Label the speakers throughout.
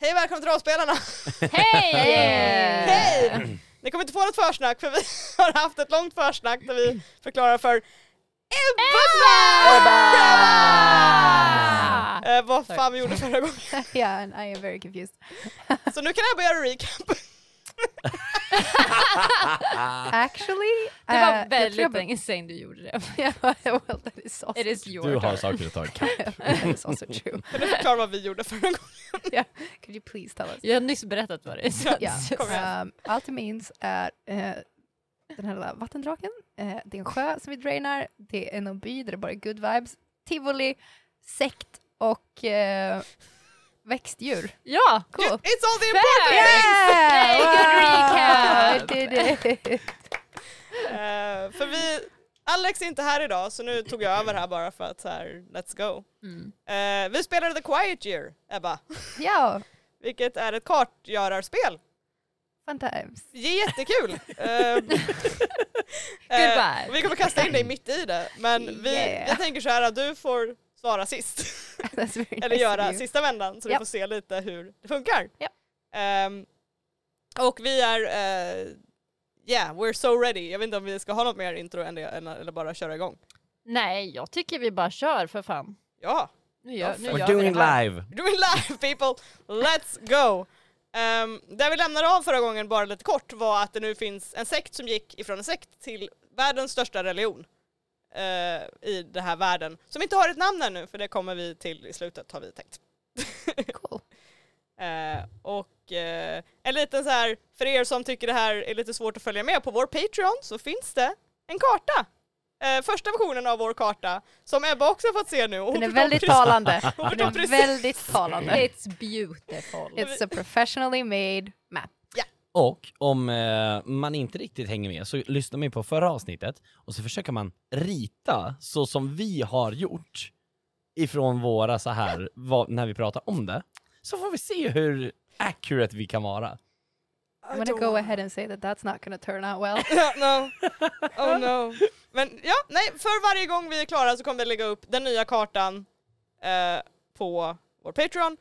Speaker 1: Hej och välkomna till Rollspelarna!
Speaker 2: Eh. Hej!
Speaker 1: Hej! Ni kommer inte få något försnack för vi har haft ett långt försnack där vi förklarar för Ebba!
Speaker 2: Ebba!
Speaker 1: Ebba! Eh, vad fan
Speaker 2: Sorry.
Speaker 1: vi gjorde förra gången.
Speaker 2: yeah, and I am very confused.
Speaker 1: Så nu kan Ebba göra recap.
Speaker 2: Actually,
Speaker 3: Det var
Speaker 2: eh, jag tror
Speaker 3: väldigt
Speaker 2: jag
Speaker 3: länge sedan du gjorde det.
Speaker 2: bara- well, that is also,
Speaker 3: It is your
Speaker 4: Du har
Speaker 3: turn.
Speaker 4: saker att ta
Speaker 2: that is also true.
Speaker 1: Kan du förklara vad vi gjorde förra gången?
Speaker 2: Yeah. Could you please tell us?
Speaker 3: Jag har nyss berättat vad det är. så att-
Speaker 2: Ja,
Speaker 1: Kom igen.
Speaker 2: ehm, allt jag minns är eh, den här lilla vattendraken, eh, det är en sjö som vi drainar, det är någon by där det bara är good vibes, tivoli, sekt och eh, växtdjur.
Speaker 3: ja.
Speaker 2: Cool.
Speaker 1: You- It's all the
Speaker 3: Fair.
Speaker 1: important
Speaker 3: Yay, good recap.
Speaker 2: I did it.
Speaker 1: Eh, för vi, Alex är inte här idag så nu tog jag över här bara för att så här, let's go.
Speaker 3: Mm.
Speaker 1: Eh, vi spelade The Quiet Year, Ebba.
Speaker 2: Ja,
Speaker 1: Vilket är ett kartgörarspel.
Speaker 2: fun times.
Speaker 1: Det är jättekul! Eh,
Speaker 3: Goodbye.
Speaker 1: eh, vi kommer kasta in dig mitt i det. Men vi,
Speaker 2: Yeah.
Speaker 1: jag tänker så här att du får svara sist.
Speaker 2: That's very
Speaker 1: Eller
Speaker 2: nice of
Speaker 1: göra
Speaker 2: you.
Speaker 1: sista vändan så vi
Speaker 2: Japp.
Speaker 1: får se lite hur det funkar.
Speaker 2: Japp.
Speaker 1: Ehm, och vi är... eh, yeah, we're so ready. Jag vet inte om vi ska ha något mer intro än det, än- eller bara köra igång.
Speaker 3: Nej, jag tycker vi bara kör för fan.
Speaker 1: Ja,
Speaker 3: Nu gör,
Speaker 1: Ja,
Speaker 3: nu
Speaker 1: för-
Speaker 3: gör
Speaker 4: We're
Speaker 3: vi
Speaker 4: doing
Speaker 3: det här.
Speaker 4: live!
Speaker 1: we're doing live people! Let's go! Ehm, där vi lämnade av förra gången, bara lite kort, var att det nu finns en sekt som gick ifrån en sekt till världens största religion eh, i den här världen. Som inte har ett namn ännu, för det kommer vi till i slutet har vi tänkt.
Speaker 2: Cool.
Speaker 1: Eh, och eh, en liten så här, för er som tycker det här är lite svårt att följa med, på vår Patreon så finns det en karta. Eh, första versionen av vår karta, som Ebba också har fått se nu. Och hon
Speaker 2: Den är
Speaker 1: förstår
Speaker 2: väldigt
Speaker 1: precis-
Speaker 2: talande.
Speaker 1: hon
Speaker 2: Den
Speaker 1: förstår
Speaker 2: är
Speaker 1: precis.
Speaker 2: väldigt talande.
Speaker 3: It's beautiful.
Speaker 2: It's a professionally made map.
Speaker 4: Och om eh, man inte riktigt hänger med så lyssnar man ju på förra avsnittet och så försöker man rita så som vi har gjort ifrån våra så här vad, när vi pratar om det. Så får vi se hur accurate vi kan vara.
Speaker 2: I'm gonna go ahead and say that that's not gonna turn out well.
Speaker 1: Ja, no. Oh no. Men ja, nej, för varje gång vi är klara så kommer vi lägga upp den nya kartan eh, på vår Patreon.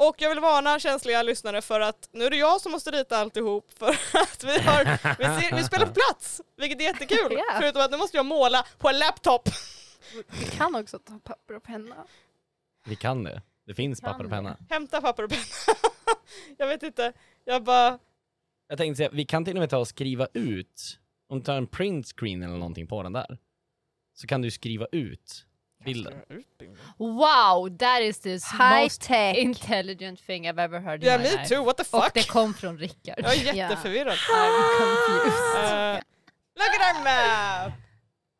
Speaker 1: Och jag vill varna känsliga lyssnare för att nu är det jag som måste rita alltihop för att vi, har, vi, ser, vi spelar på plats, vilket är jättekul.
Speaker 2: Ja.
Speaker 1: Förutom att nu måste jag måla på en laptop.
Speaker 2: Vi kan också ta papper och penna.
Speaker 4: Vi kan det. Det finns
Speaker 3: Kan
Speaker 4: papper och penna.
Speaker 1: Hämta papper och penna. jag vet inte, jag bara...
Speaker 4: Jag tänkte säga, vi kan till och med ta och skriva ut, om du tar en print screen eller någonting på den där, så kan du skriva ut bilden.
Speaker 3: Wow, that is the
Speaker 2: High
Speaker 3: most
Speaker 2: tech.
Speaker 3: intelligent thing I've ever heard
Speaker 1: Yeah
Speaker 3: in my
Speaker 1: me
Speaker 3: life.
Speaker 1: too, what the
Speaker 3: Och
Speaker 1: fuck? Oh,
Speaker 3: det kom från Rickard.
Speaker 1: Jag är jätteförvirrad.
Speaker 3: I'm confused.
Speaker 1: Eh, look at our map!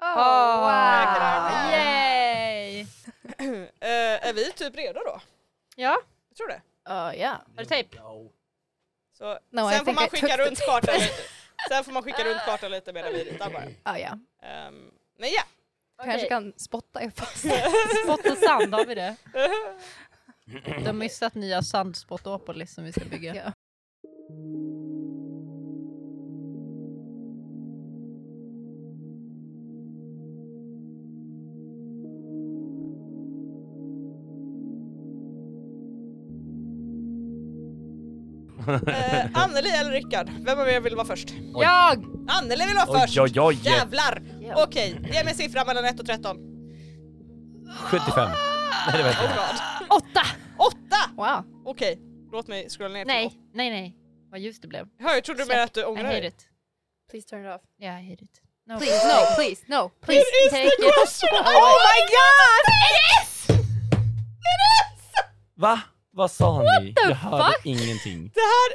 Speaker 2: Oh,
Speaker 1: wow.
Speaker 3: Yay!
Speaker 1: Eh, är vi typ redo då?
Speaker 3: Ja,
Speaker 1: Jag tror det.
Speaker 2: Oh, yeah.
Speaker 3: har du tejp?
Speaker 1: Så,
Speaker 2: No, I
Speaker 1: sen, får
Speaker 2: think
Speaker 1: man
Speaker 2: I
Speaker 1: skicka
Speaker 2: took the
Speaker 1: runt kartan lite, sen får man skicka runt kartan lite medan vi ritar bara.
Speaker 2: Oh, yeah.
Speaker 1: Ehm, men ja,
Speaker 2: Kanske
Speaker 3: Okej.
Speaker 2: kan spotta er fast.
Speaker 3: Spott och sand, har vi det? De har missat nya sandspottopolis som vi ska bygga.
Speaker 2: Ja.
Speaker 1: uh, Anneli eller Rickard, vem av er vill vara först?
Speaker 4: Oj.
Speaker 3: Jag!
Speaker 1: Anneli vill vara först!
Speaker 4: Oj, oj, oj!
Speaker 1: Jävlar!
Speaker 3: Ja.
Speaker 1: Okej, ge mig en siffra mellan 1 och 13.
Speaker 4: 75. Nej, det
Speaker 1: Oh
Speaker 4: var inte.
Speaker 1: god.
Speaker 3: Åtta!
Speaker 1: 8!
Speaker 2: Wow.
Speaker 1: Okej, låt mig scrolla ner till åtta.
Speaker 3: Nej, nej, nej. Vad ljust det blev.
Speaker 1: Hör, jag trodde mer att du
Speaker 3: I
Speaker 1: ångrar
Speaker 3: hate
Speaker 1: dig.
Speaker 3: it.
Speaker 2: Please turn it off.
Speaker 3: Yeah, I hate it. No.
Speaker 2: Please, no, please, no, please.
Speaker 1: is
Speaker 3: Take
Speaker 1: the
Speaker 3: it.
Speaker 1: question! Oh my god! It is!
Speaker 4: Va? Vad sa ni?
Speaker 3: the
Speaker 4: Jag hörde
Speaker 3: fuck?
Speaker 4: ingenting.
Speaker 1: Det här,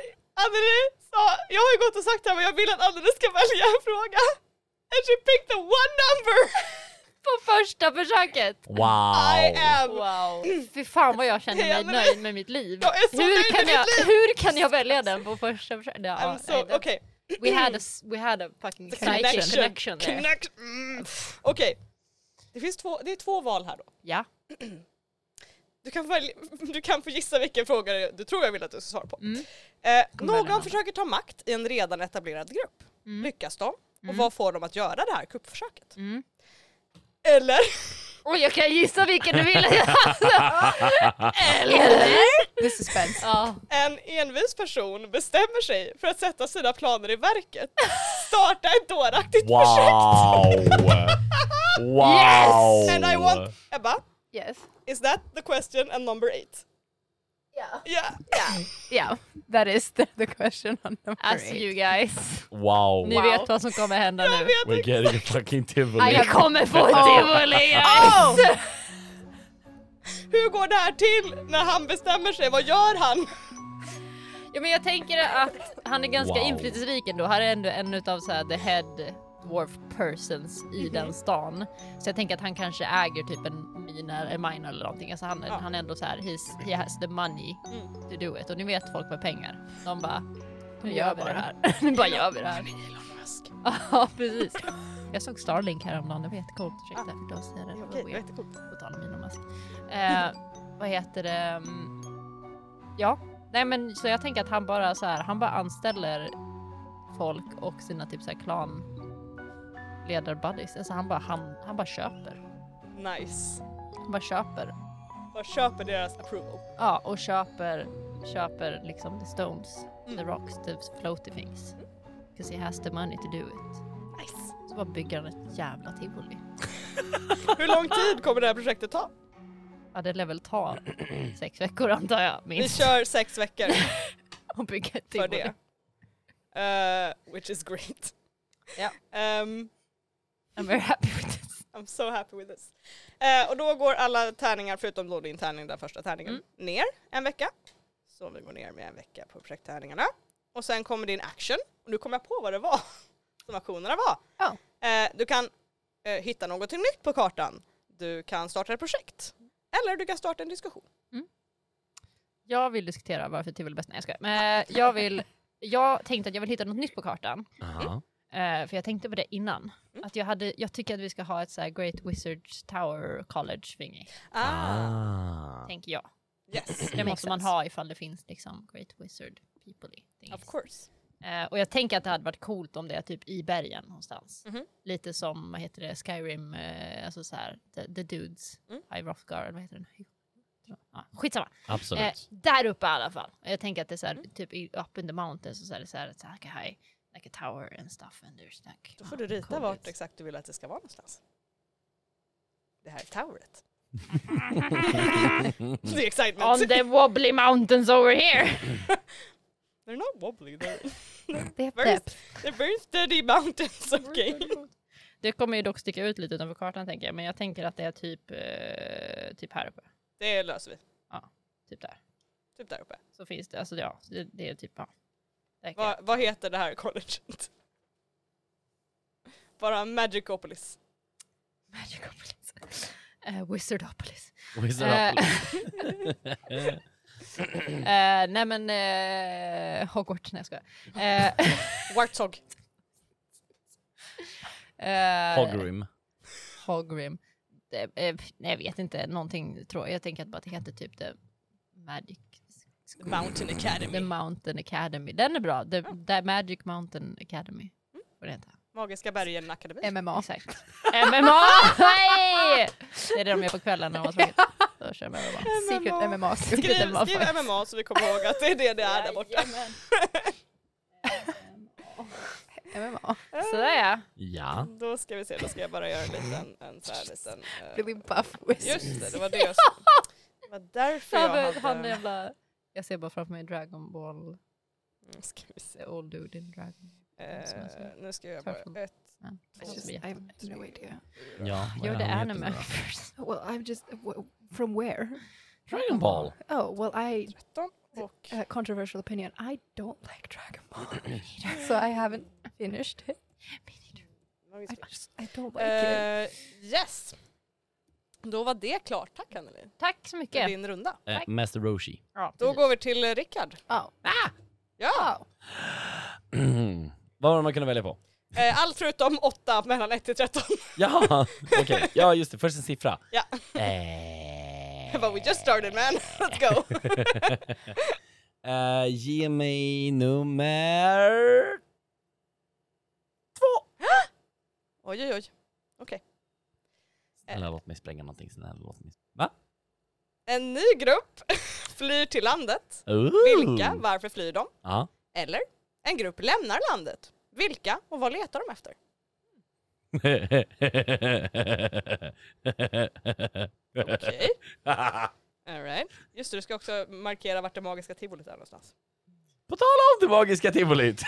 Speaker 1: Anneli sa, jag har ju gått och sagt det här men jag vill att Anneli ska välja en fråga. And she picked the one number
Speaker 3: På första försöket!
Speaker 4: Wow!
Speaker 1: I am!
Speaker 3: Wow. Fy fan vad jag känner mig
Speaker 1: Ja, men-
Speaker 3: nöjd med mitt liv.
Speaker 1: Jag är så nöjd
Speaker 3: Hur
Speaker 1: med
Speaker 3: kan
Speaker 1: mitt
Speaker 3: jag,
Speaker 1: liv!
Speaker 3: hur kan jag välja den på första försöket? Ja,
Speaker 1: I'm so,
Speaker 3: nej, det-
Speaker 1: okej.
Speaker 3: we, had a, s- we had a fucking connection. connection there.
Speaker 1: Connect- mm. Okej. Det finns två, det är två val här då.
Speaker 3: ja.
Speaker 1: Du kan, välja, du kan få gissa vilken fråga det är du tror jag vill att du ska svara på.
Speaker 3: Mm.
Speaker 1: Eh,
Speaker 3: Kommer välja
Speaker 1: någon
Speaker 3: någon.
Speaker 1: försöker ta makt i en redan etablerad grupp.
Speaker 3: Mm.
Speaker 1: Lyckas de? Och
Speaker 3: Mm.
Speaker 1: vad får de att göra det här kuppförsöket?
Speaker 3: Mm.
Speaker 1: Eller
Speaker 3: Och jag kan gissa vilken du vill.
Speaker 2: Det är suspense.
Speaker 3: ja.
Speaker 1: En envis person bestämmer sig för att sätta sina planer i verket. Starta ett dåraktigt projekt.
Speaker 4: Wow! Wow!
Speaker 3: Yes!
Speaker 1: And I want... Ebba,
Speaker 2: Yes.
Speaker 1: is that the question and number eight? Ja. Yeah.
Speaker 2: Yeah, that is the, the question on number
Speaker 3: Alltså
Speaker 2: eight.
Speaker 3: you guys.
Speaker 4: Wow!
Speaker 3: Ni vet vad som kommer hända nu.
Speaker 1: Jag vet
Speaker 4: We're getting a fucking
Speaker 3: Ja,
Speaker 4: tivoli.
Speaker 3: jag kommer få tivoli guys.
Speaker 1: Oh! Hur går det här till när han bestämmer sig? Vad gör han?
Speaker 3: Ja, men jag tänker att han är ganska
Speaker 4: Wow.
Speaker 3: inflytelserik ändå. Han är ändå en utav så här, the head dwarf persons i den stan. Så jag tänker att han kanske äger typ en miner, en miner eller någonting. Alltså han,
Speaker 1: Ja.
Speaker 3: han är ändå så här, he's, he has the money to do it. Och ni vet folk med pengar. De bara, Mm. nu gör vi det här. nu bara gör vi det här. Ja, precis. Jag såg Starlink häromdagen, det var jättecoolt. Ursäkta för att jag säger det. Det var weird. På tal om Elon Musk. Eh, vad heter det? Mm, Ja, nej men så jag tänker att han bara så här, han bara anställer folk och sina typ så här klan buddies. Alltså han bara, han, han bara köper.
Speaker 1: Nice.
Speaker 3: Han bara köper.
Speaker 1: Jag köper deras approval.
Speaker 3: Ja, och köper, köper liksom the stones, the
Speaker 1: Mm.
Speaker 3: rocks, the floaty things. Because he has the money to do it.
Speaker 1: Nice.
Speaker 3: Så bara bygger han ett jävla tivoli.
Speaker 1: Hur lång tid kommer det här projektet ta?
Speaker 3: Ja, det lär väl ta sex veckor antar jag
Speaker 1: Vi
Speaker 3: minst.
Speaker 1: kör sex veckor
Speaker 3: Och bygga ett
Speaker 1: för
Speaker 3: tivoli.
Speaker 1: det. Eh, which is great.
Speaker 3: Ja.
Speaker 1: Ehm,
Speaker 3: I'm very happy with this.
Speaker 1: I'm so happy with this. Eh, och då går alla tärningar, förutom då din tärning, den första tärningen,
Speaker 3: Mm.
Speaker 1: ner en vecka. Så vi går ner med en vecka på projekttärningarna. Och sen kommer din action. Och nu kommer jag på vad det var som aktionerna var.
Speaker 2: Ja.
Speaker 1: Eh, du kan eh, hitta någonting nytt på kartan. Du kan starta ett projekt. Eller du kan starta en diskussion.
Speaker 3: Jag vill diskutera varför Tivoli är bäst. Nej jag skojar. Men jag vill, jag tänkte att jag vill hitta något nytt på kartan.
Speaker 4: Aha.
Speaker 3: Eh, för jag tänkte på det innan.
Speaker 1: Mm.
Speaker 3: Att jag, hade, jag tycker att vi ska ha ett så här Great Wizards Tower College thingy.
Speaker 4: Ah.
Speaker 3: Tänker jag.
Speaker 1: Yes,
Speaker 3: Det måste man
Speaker 2: sense.
Speaker 3: ha ifall det finns liksom Great Wizard people i things.
Speaker 1: of course.
Speaker 3: Eh, och jag tänker att det hade varit coolt om det är typ i bergen någonstans.
Speaker 1: Mhm.
Speaker 3: Lite som, vad heter det, Skyrim, eh, alltså så här, the, the Dudes,
Speaker 1: Mm.
Speaker 3: High Rothgar, vad heter den? Ah, skitsamma. Eh,
Speaker 4: Absolut.
Speaker 3: där uppe i alla fall. Och Jag tänker att det är så här, typ i- up in the mountains och så är det så här, it's like a high, like a tower and stuff and there's like,
Speaker 1: Då får du rita
Speaker 3: Ah, cool
Speaker 1: vart
Speaker 3: bits.
Speaker 1: exakt du vill att det ska vara någonstans. Det här är toweret. The excitement.
Speaker 3: On the wobbly mountains over here!
Speaker 1: They're not wobbly, they're,
Speaker 2: Det är
Speaker 1: Very
Speaker 2: depth.
Speaker 1: they're very steady mountains. Okay.
Speaker 3: det kommer ju dock sticka ut lite utanför kartan tänker jag, men jag tänker att det är typ, eh, typ här uppe.
Speaker 1: Det löser vi.
Speaker 3: Typ där.
Speaker 1: Typ där uppe.
Speaker 3: Så finns det, alltså ja, det, det är typ, ja. Där kan
Speaker 1: Va, vad heter det här colleget? Bara Magicopolis.
Speaker 3: jag- Magicopolis. Eh, Wizardopolis.
Speaker 4: Wizard of-
Speaker 3: Eh, nej men, eh, Hogwarts, nej jag skojar. Eh,
Speaker 1: Warthog.
Speaker 3: eh,
Speaker 4: Hogrim.
Speaker 3: Hogrim. Det, eh, nej, jag vet inte, någonting tror jag. Jag tänker att bara det heter typ The Magic
Speaker 1: Mountain
Speaker 3: The
Speaker 4: Mm.
Speaker 1: Academy.
Speaker 3: Mountain Academy. Den är bra. The,
Speaker 1: Mm.
Speaker 3: the Magic Mountain Academy. Får det heta.
Speaker 1: Magiska bergen Academy.
Speaker 2: MMA.
Speaker 3: Exakt. MMA! Hej! Det är det de gör på kvällen när de har tråkigt. Då kör de MMA.
Speaker 2: Secret
Speaker 1: MMA.
Speaker 2: MMA.
Speaker 1: Skriv,
Speaker 3: MMA
Speaker 1: skriv
Speaker 3: först.
Speaker 1: MMA så vi kommer ihåg att det är det det är där borta.
Speaker 2: MMA.
Speaker 3: Sådär ja.
Speaker 4: Ja.
Speaker 1: Då ska vi se, då ska jag bara göra en liten... En så här liten eh,
Speaker 2: Really buff wizard.
Speaker 1: just det, det var det jag som- Det var därför jag
Speaker 3: Han är
Speaker 1: hade...
Speaker 3: jävla... Jag ser bara framför mig Dragon Ball,
Speaker 1: Nu Ska vi se.
Speaker 3: the old dude in Dragon
Speaker 1: Eh, nu ska jag
Speaker 3: Turtle.
Speaker 1: bara... Ett,
Speaker 3: Man.
Speaker 1: I just-
Speaker 2: I have no idea.
Speaker 4: ja. vad
Speaker 3: You're the
Speaker 4: är han heter
Speaker 3: anime
Speaker 4: nu då?
Speaker 3: first.
Speaker 2: Well, I'm just... w- From where?
Speaker 4: Dragon Ball.
Speaker 2: Oh, well, I...
Speaker 1: 13 och...
Speaker 2: Uh, controversial opinion. I don't like Dragon Ball. so I haven't finished it. I, just, I don't like it.
Speaker 1: Eh, yes! Då var det klart. Tack Anneli
Speaker 3: Tack så
Speaker 1: för
Speaker 3: mycket.
Speaker 1: din runda.
Speaker 4: Eh, Master Roshi.
Speaker 3: Ja,
Speaker 1: Då går vi till eh, Rickard.
Speaker 2: Oh.
Speaker 1: Ja!
Speaker 2: Oh.
Speaker 1: Mm.
Speaker 4: Vad har man kunnat välja på?
Speaker 1: Eh, allt förutom 8 mellan 1 till 13.
Speaker 4: Jaha, okej. Ja just det, först en siffra.
Speaker 1: Ja.
Speaker 4: Eh,
Speaker 1: But we just started man, let's go!
Speaker 4: eh, ge mig nummer...
Speaker 1: Oj oj oj. Okej.
Speaker 4: Eller låt mig spränga någonting. Snälla, låt mig... Va?
Speaker 1: En ny grupp flyr till landet.
Speaker 4: Ooh.
Speaker 1: Vilka? Varför flyr de?
Speaker 4: Ja.
Speaker 1: Eller? En grupp lämnar landet. Vilka och vad letar de efter? Okej. All right. Just det, du ska också markera vart det magiska tivolit är någonstans.
Speaker 4: På tal om det magiska tivolit.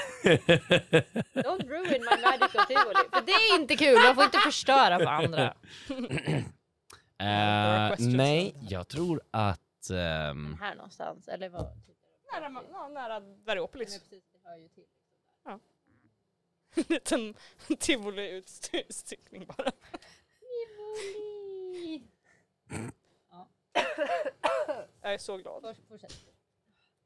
Speaker 3: Don't ruin my magical tivoli. För det är inte kul, man får inte förstöra för andra.
Speaker 1: några
Speaker 4: Eh,
Speaker 1: questions
Speaker 4: nej,
Speaker 1: om det här.
Speaker 4: jag tror att... ehm,
Speaker 3: Här någonstans, eller vad?
Speaker 1: Nära, ja, nära Dvergopolis.
Speaker 3: hör ju till.
Speaker 1: En liten tivoli-utstyckning bara. Jag är så glad.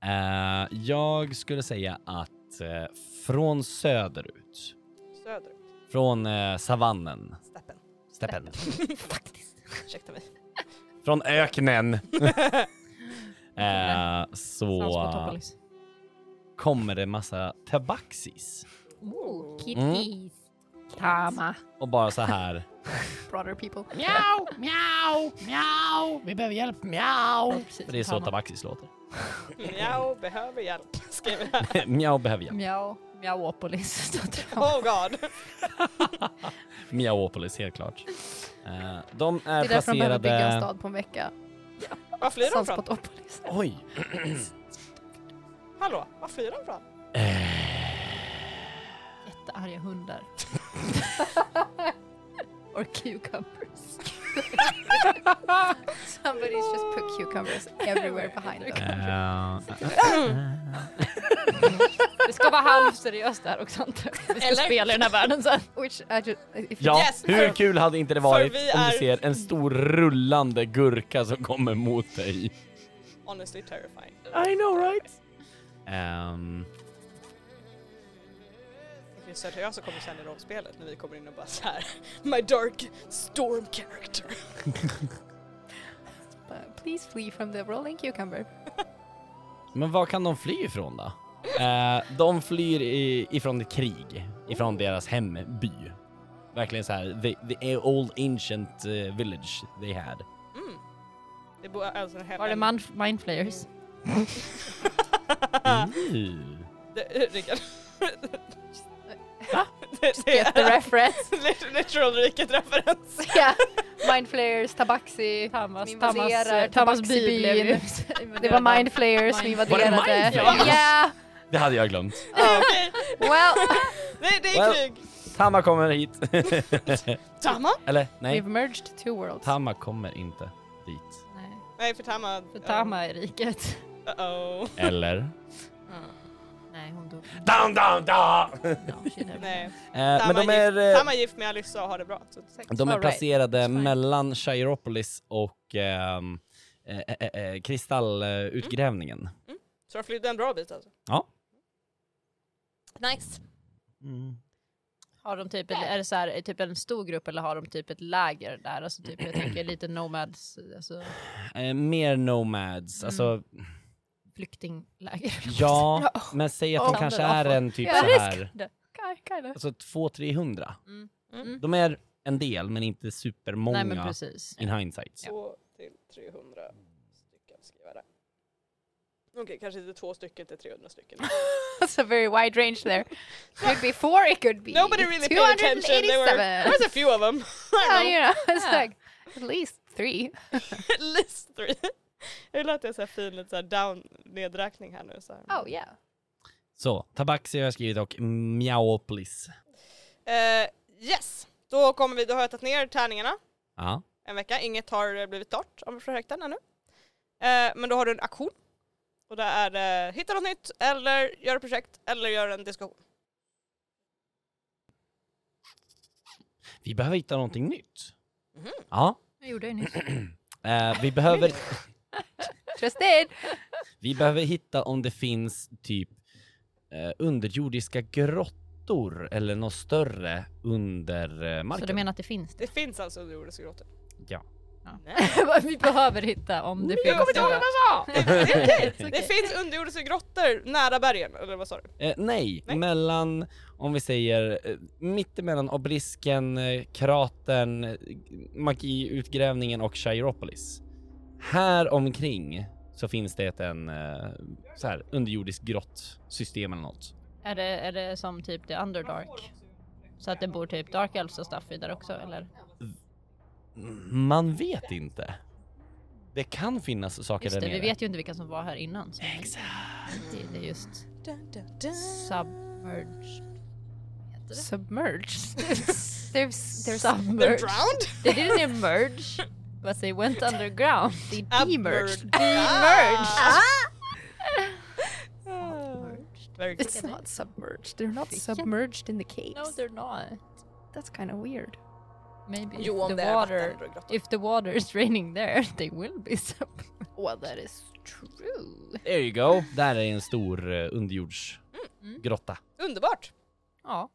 Speaker 4: eh, jag skulle säga att eh, från söderut,
Speaker 1: Söderut.
Speaker 4: från eh, savannen,
Speaker 1: Steppen.
Speaker 4: steppen,
Speaker 1: Faktiskt. Ursäkta mig.
Speaker 4: från öknen, eh, så kommer det massa tabaxis Mm.
Speaker 3: Kitties. Tama.
Speaker 4: och bara så här.
Speaker 2: Broader people.
Speaker 3: Mjau, mjau, mjau. Vi behöver hjälp. Mjau.
Speaker 4: För det är så tabaxis låter.
Speaker 1: Miau behöver hjälp, skriver jag.
Speaker 4: Mjau behöver jag.
Speaker 2: Mjau.
Speaker 3: Mjauopolis.
Speaker 1: Oh god.
Speaker 4: Mjauopolis, helt klart. Eh, de är
Speaker 2: Det är därför de behöver bygga en
Speaker 4: placerade...
Speaker 2: stad på en vecka.
Speaker 1: Var flyr de från?
Speaker 2: Salspotopolis.
Speaker 4: Oj!
Speaker 1: Hallå, var flyr de från?
Speaker 4: Eh,
Speaker 3: Jättearga hundar.
Speaker 2: Or cucumbers. Somebody's just put cucumbers everywhere behind them.
Speaker 4: Eh,
Speaker 3: Det ska vara halvseriöst där också inte. Vi ska
Speaker 1: Eller?
Speaker 3: spela i den här världen sen.
Speaker 2: Which I just... If
Speaker 4: ja,
Speaker 1: Yes,
Speaker 4: hur
Speaker 1: för-
Speaker 4: kul hade inte det varit
Speaker 1: för
Speaker 4: om
Speaker 1: vi
Speaker 4: du
Speaker 1: är-
Speaker 4: ser en stor rullande gurka som kommer mot dig?
Speaker 1: Honestly terrifying.
Speaker 4: I know right? Ehm,
Speaker 1: Det är seriöst så kommer sen i rollspelet när vi kommer in och bara så här. My dark storm character.
Speaker 2: Uh, please flee from the rolling cucumber.
Speaker 4: men var kan de fly ifrån då? Eh, de flyr i, ifrån ett krig, ifrån deras hemby. Verkligen så här, the, the old ancient eh, village they had.
Speaker 1: Mm. Det bor alltså en hel...
Speaker 3: Var det man, mindflayers?
Speaker 4: Mm. Ooh.
Speaker 1: Det- Rickard.
Speaker 2: Va?
Speaker 1: Det, det
Speaker 2: Get the
Speaker 1: är
Speaker 2: reference.
Speaker 1: lit- literal riket-referens.
Speaker 2: Ja. Mindflayers, tabaxi.
Speaker 3: Tamas,
Speaker 2: Invaderar
Speaker 3: Tamas, eh, Tamas
Speaker 2: tabaxibyn.
Speaker 3: by blev ju...
Speaker 2: Det var mindflayers som
Speaker 3: Mind-
Speaker 2: invaderade.
Speaker 4: Var det mindflayers?
Speaker 2: Ja!
Speaker 4: Det hade jag glömt.
Speaker 2: Oh,
Speaker 1: Okej,
Speaker 2: well,
Speaker 1: det, det är
Speaker 4: Well.
Speaker 1: krig.
Speaker 4: Tamma kommer hit.
Speaker 1: Tama?
Speaker 4: Eller nej,
Speaker 2: we've merged two worlds.
Speaker 4: Tamma kommer inte dit.
Speaker 3: Nej,
Speaker 1: Nej, för Tama...
Speaker 3: för Tama är riket.
Speaker 1: Uh, uh-oh.
Speaker 4: Eller?
Speaker 3: Ah, Nej, hon dog.
Speaker 4: Dam, dam, dam!
Speaker 1: Nej.
Speaker 4: Eh, men
Speaker 1: Tama,
Speaker 4: de är,
Speaker 1: gift,
Speaker 4: eh,
Speaker 1: Tama är gift med Alyssa och har det bra. Så att säga.
Speaker 4: de är
Speaker 2: All right,
Speaker 4: placerade
Speaker 2: that's fine.
Speaker 4: mellan Shiropolis och ehm, eh, eh, eh, kristallutgrävningen.
Speaker 1: Så de flydde en bra bit alltså.
Speaker 4: Ja.
Speaker 1: Nice.
Speaker 3: Har de typ, är det så här, är typ en stor grupp eller har de typ ett läger där? Alltså typ, jag tänker lite nomads, alltså
Speaker 4: Eh, mer nomads, alltså
Speaker 3: flyktingläger.
Speaker 4: ja, men säg att de
Speaker 3: Ja.
Speaker 4: kanske
Speaker 3: Ja.
Speaker 4: är en typ
Speaker 2: Ja,
Speaker 4: så
Speaker 2: risk.
Speaker 4: här,
Speaker 2: Ki- Kinda.
Speaker 4: alltså 200-300.
Speaker 3: Mm.
Speaker 1: Mm.
Speaker 4: De är en del men inte supermånga
Speaker 3: Nej men precis.
Speaker 4: in hindsight.
Speaker 1: Två till 300 stycken skriver jag där. Okej, kanske inte två stycken till 300 stycken.
Speaker 2: That's a very wide range there. Could be four, it could be
Speaker 1: Nobody really paid attention. There were, there
Speaker 2: 287.
Speaker 1: was a few of them. I
Speaker 2: Yeah,
Speaker 1: know.
Speaker 2: you know, it's
Speaker 3: Yeah.
Speaker 2: like at least three.
Speaker 1: At least three. Jag gillar att det är så här fin lite så här down nedräkning här nu. Så här.
Speaker 2: Oh yeah.
Speaker 4: Så, Tabaxi har jag skrivit och Mjauopolis.
Speaker 1: Eh, yes, då kommer vi, då har jag tagit ner tärningarna
Speaker 4: Ja.
Speaker 1: en vecka. Inget har eh, blivit klart av projekten ännu. Eh, men då har du en aktion. Och det är det hitta något nytt eller gör ett projekt eller gör en diskussion.
Speaker 4: Vi behöver hitta någonting nytt.
Speaker 1: Mhm.
Speaker 4: Ja.
Speaker 3: Jag gjorde ju nyss.
Speaker 4: Eh, vi, behöver,
Speaker 2: Just did.
Speaker 4: vi behöver hitta om det finns typ eh, underjordiska grottor eller något större under eh,
Speaker 3: Så
Speaker 4: marken.
Speaker 3: du menar att det finns det?
Speaker 1: Det finns alltså underjordiska grottor.
Speaker 4: Ja.
Speaker 1: Nej.
Speaker 3: vi behöver hitta om det
Speaker 1: Jag
Speaker 3: finns
Speaker 1: kommer inte ihåg vad
Speaker 3: några.
Speaker 1: jag sa! Det, det är okej.
Speaker 3: It's okay.
Speaker 1: Det finns underjordiska grottor nära bergen, eller vad sa du?
Speaker 4: Eh, nej,
Speaker 1: Nej.
Speaker 4: mellan, om vi säger, eh, mittemellan obrisken, eh, kratern, eh, magiutgrävningen och Chiropolis. Här omkring så finns det en eh, så här, underjordisk grottsystem eller något.
Speaker 3: Är det, är det som typ The Underdark? Så att det bor typ Dark Elves och Staffy där också eller?
Speaker 4: Man vet inte. Det kan finnas saker
Speaker 3: Just
Speaker 4: där
Speaker 3: det,
Speaker 4: nere.
Speaker 3: vi vet ju inte vilka som var här innan. Så Det, det är just submerged. Heter det?
Speaker 2: Submerged. There's, there's
Speaker 1: They're
Speaker 3: Submerged.
Speaker 1: drowned?
Speaker 3: They didn't emerge, but they went underground. They
Speaker 1: Submerged.
Speaker 3: demerged. Demerged.
Speaker 1: Ah! Very good.
Speaker 2: It's not submerged. They're not submerged in the caves.
Speaker 3: No, they're not.
Speaker 2: That's kind of weird.
Speaker 3: Maybe if
Speaker 1: Jo, om det
Speaker 3: the
Speaker 1: är
Speaker 3: water,
Speaker 1: vattengrottor.
Speaker 3: if the water is raining there, they will be submerged.
Speaker 2: Well, that is true.
Speaker 4: There you go. Där är en stor eh, underjordsgrotta.
Speaker 3: Mm.
Speaker 1: Underbart!
Speaker 3: Ja.